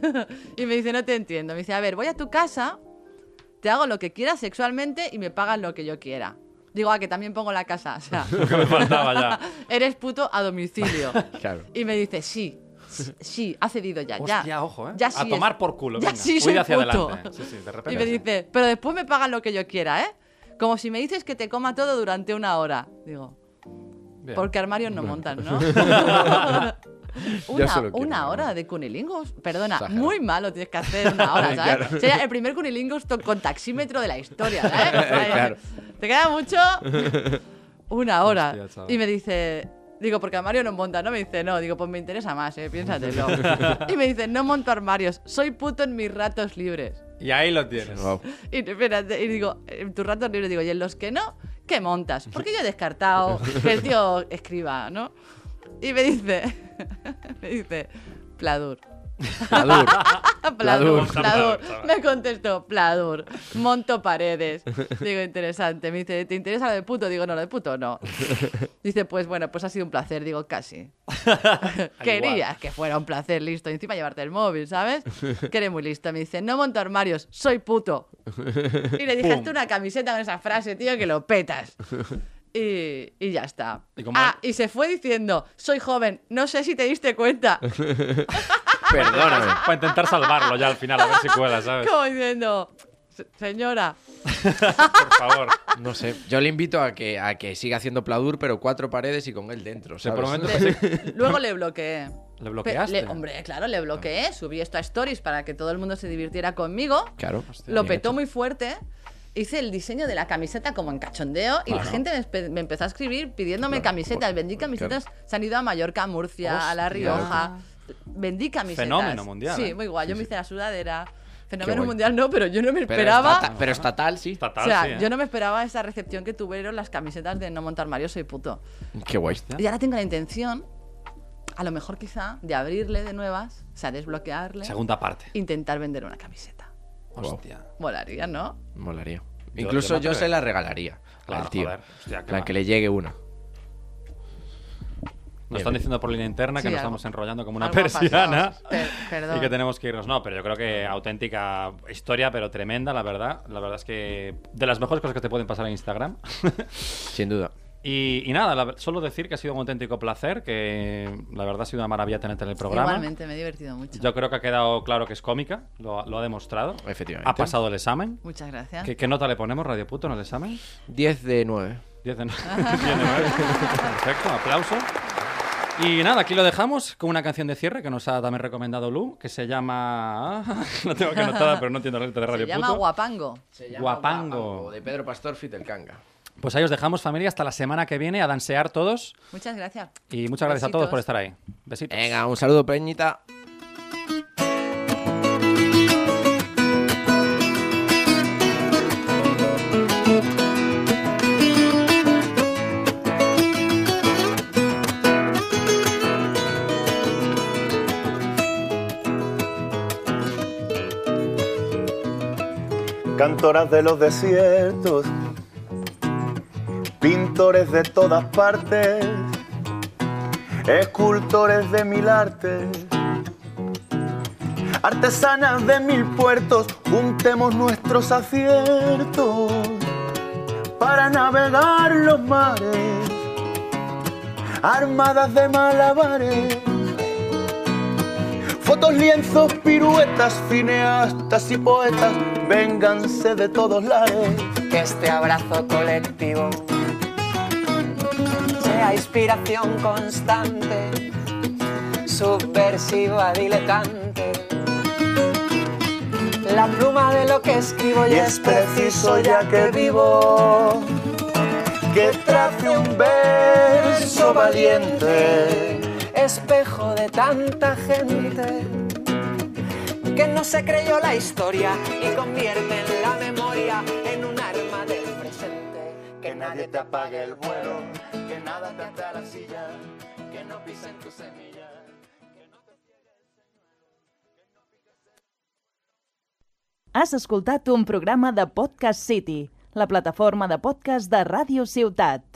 Speaker 3: y me dice, no te entiendo. Me dice, a ver, voy a tu casa, te hago lo que quieras sexualmente y me pagas lo que yo quiera. Digo, ah, que también pongo la casa. O sea,
Speaker 1: Lo que me faltaba ya.
Speaker 3: eres puto a domicilio.
Speaker 2: Claro.
Speaker 3: Y me dice, sí, sí, sí, ha cedido ya.
Speaker 1: Hostia,
Speaker 3: ya,
Speaker 1: ojo, ¿eh?
Speaker 3: Ya
Speaker 1: a
Speaker 3: sí es-
Speaker 1: tomar por culo.
Speaker 3: Ya
Speaker 1: venga.
Speaker 3: sí
Speaker 1: Huide
Speaker 3: soy
Speaker 1: hacia
Speaker 3: puto.
Speaker 1: adelante. Sí, sí, de repente.
Speaker 3: Y me dice, pero después me pagan lo que yo quiera, ¿eh? Como si me dices que te coma todo durante una hora. Digo,
Speaker 1: Bien.
Speaker 3: porque armarios no montan, ¿no?
Speaker 2: Yo
Speaker 3: una
Speaker 2: solo quiero
Speaker 3: una
Speaker 2: una
Speaker 3: hora
Speaker 2: hora.
Speaker 3: de cunilingus. Perdona,
Speaker 2: Exagerado.
Speaker 3: muy malo tienes que hacer una hora, ¿sabes? Sería el primer cunilingus to- con taxímetro de la historia, ¿sabes? O sea,
Speaker 2: Claro.
Speaker 3: Te queda mucho. Una hora.
Speaker 1: Hostia, chaval.
Speaker 3: y me dice. Digo, porque armario no monta, ¿no? Me dice, no. Digo, pues me interesa más, ¿eh? Piénsatelo. y me dice, no monto armarios. Soy puto en mis ratos libres.
Speaker 1: Y ahí lo tienes.
Speaker 2: Guau.
Speaker 3: Y, espérate, y digo, en tu rato libre digo, y en los que no, ¿qué montas? Porque yo he descartado que el tío escriba, ¿no? Y me dice, me dice, Pladur.
Speaker 2: Pladur. Pladur.
Speaker 3: Pladur, Pladur. Me contestó, Pladur, monto paredes. Digo, interesante. Me dice, ¿te interesa lo de puto? Digo, no, lo de puto no. Dice, pues bueno, pues ha sido un placer. Digo, casi. Querías que fuera un placer, listo. Y encima llevarte el móvil, ¿sabes? Que eres muy listo. Me dice, no monto armarios, soy puto. Y le dije, hazte una camiseta con esa frase, tío, que lo petas. Y, y ya está.
Speaker 1: ¿Y cómo-
Speaker 3: ah, y se fue diciendo, soy joven, no sé si te diste cuenta.
Speaker 2: Perdóname.
Speaker 1: Para intentar salvarlo ya al final, a ver si cuela, ¿sabes?
Speaker 3: Como diciendo, "Se- señora,
Speaker 1: Por favor.
Speaker 2: No sé. Yo le invito a que, a que siga haciendo Pladur, pero cuatro paredes y con él dentro.
Speaker 1: Se
Speaker 2: ¿sabes?
Speaker 1: promete-
Speaker 3: Le- luego le bloqueé.
Speaker 1: ¿Le
Speaker 3: Pe-
Speaker 1: bloqueaste? Ah.
Speaker 3: le- hombre, claro, le bloqueé. Subí esto a stories para que todo el mundo se divirtiera conmigo.
Speaker 2: Claro.
Speaker 3: Lo petó muy fuerte. Hice el diseño de la camiseta como en cachondeo y la gente me, espe- me empezó a escribir pidiéndome camisetas. Vendí camisetas. Se han ido a Mallorca, a Murcia, a La Rioja. Vendí camisetas.
Speaker 1: Fenómeno mundial,
Speaker 3: Sí,
Speaker 1: ¿eh?
Speaker 3: muy guay. Yo me hice la sudadera. Fenómeno
Speaker 2: guay.
Speaker 3: mundial no, pero yo no me
Speaker 2: Pero
Speaker 3: esperaba.
Speaker 2: estata- pero estatal, sí.
Speaker 1: Fatal,
Speaker 3: o sea,
Speaker 1: sí, ¿eh?
Speaker 3: yo no me esperaba esa recepción que tuvieron las camisetas de No Montar Mario Soy Puto.
Speaker 2: Qué guay.
Speaker 3: Y ahora tengo la intención, a lo mejor quizá, de abrirle de nuevas, o sea, desbloquearle,
Speaker 1: Segunda parte.
Speaker 3: intentar vender una camiseta.
Speaker 1: Hostia.
Speaker 3: Molaría, ¿no?
Speaker 2: Molaría.
Speaker 1: Yo-
Speaker 2: Incluso
Speaker 1: yo me
Speaker 2: yo se
Speaker 1: atrevo.
Speaker 2: la regalaría
Speaker 1: Claro,
Speaker 2: al tío.
Speaker 1: joder. Hostia, qué
Speaker 2: En plan,
Speaker 1: va.
Speaker 2: que le llegue una.
Speaker 1: Nos están diciendo por línea interna que
Speaker 3: Sí,
Speaker 1: nos
Speaker 3: algo-
Speaker 1: estamos enrollando como una
Speaker 3: algo ha
Speaker 1: persiana.
Speaker 3: pasado. Per- perdón.
Speaker 1: Y que tenemos que irnos. No, pero yo creo que auténtica historia, pero tremenda, la verdad. La verdad es que de las mejores cosas que te pueden pasar en Instagram.
Speaker 2: Sin duda.
Speaker 1: y, y nada, la- solo decir que ha sido un auténtico placer, que la verdad ha sido una maravilla tenerte en el programa.
Speaker 3: Igualmente, me he divertido mucho.
Speaker 1: Yo creo que ha quedado claro que es cómica, lo, lo ha demostrado.
Speaker 2: Efectivamente.
Speaker 1: Ha pasado el examen.
Speaker 3: Muchas gracias.
Speaker 1: ¿Qué, qué nota le ponemos, Radio Puto, en el examen?
Speaker 2: 10 de 9.
Speaker 1: 10 de 9. Perfecto, aplauso. Y nada, aquí lo dejamos con una canción de cierre que nos ha también recomendado Lu, que se llama. No tengo que anotada, pero no entiendo la letra de Radio
Speaker 3: Se llama
Speaker 1: Puto.
Speaker 3: Guapango.
Speaker 2: Se
Speaker 1: llama Guapango. Guapango,
Speaker 2: De Pedro Pastor Fitel Canga.
Speaker 1: Pues ahí os dejamos, familia, hasta la semana que viene a dansear todos.
Speaker 3: Muchas gracias.
Speaker 1: Y muchas gracias a todos
Speaker 3: Besitos.
Speaker 1: por estar ahí. Besitos.
Speaker 2: Venga, un saludo, Peñita.
Speaker 6: cantoras de los desiertos, pintores de todas partes, escultores de mil artes, artesanas de mil puertos, juntemos nuestros aciertos para navegar los mares, armadas de malabares. Fotos, lienzos, piruetas, cineastas y poetas, vénganse de todos lares.
Speaker 9: que este abrazo colectivo sea inspiración constante, subversiva, diletante. La pluma de lo que escribo
Speaker 6: Y es preciso ya que vivo que trace un verso valiente.
Speaker 9: espejo de tanta gente que no se creyó la historia y convierte en la memoria en un arma del presente.
Speaker 6: Que nadie te apague el vuelo, que nada te ata a la silla, que no pisen tu semilla.
Speaker 10: Has escoltat un programa de Podcast City, la plataforma de podcast de Ràdio Ciutat.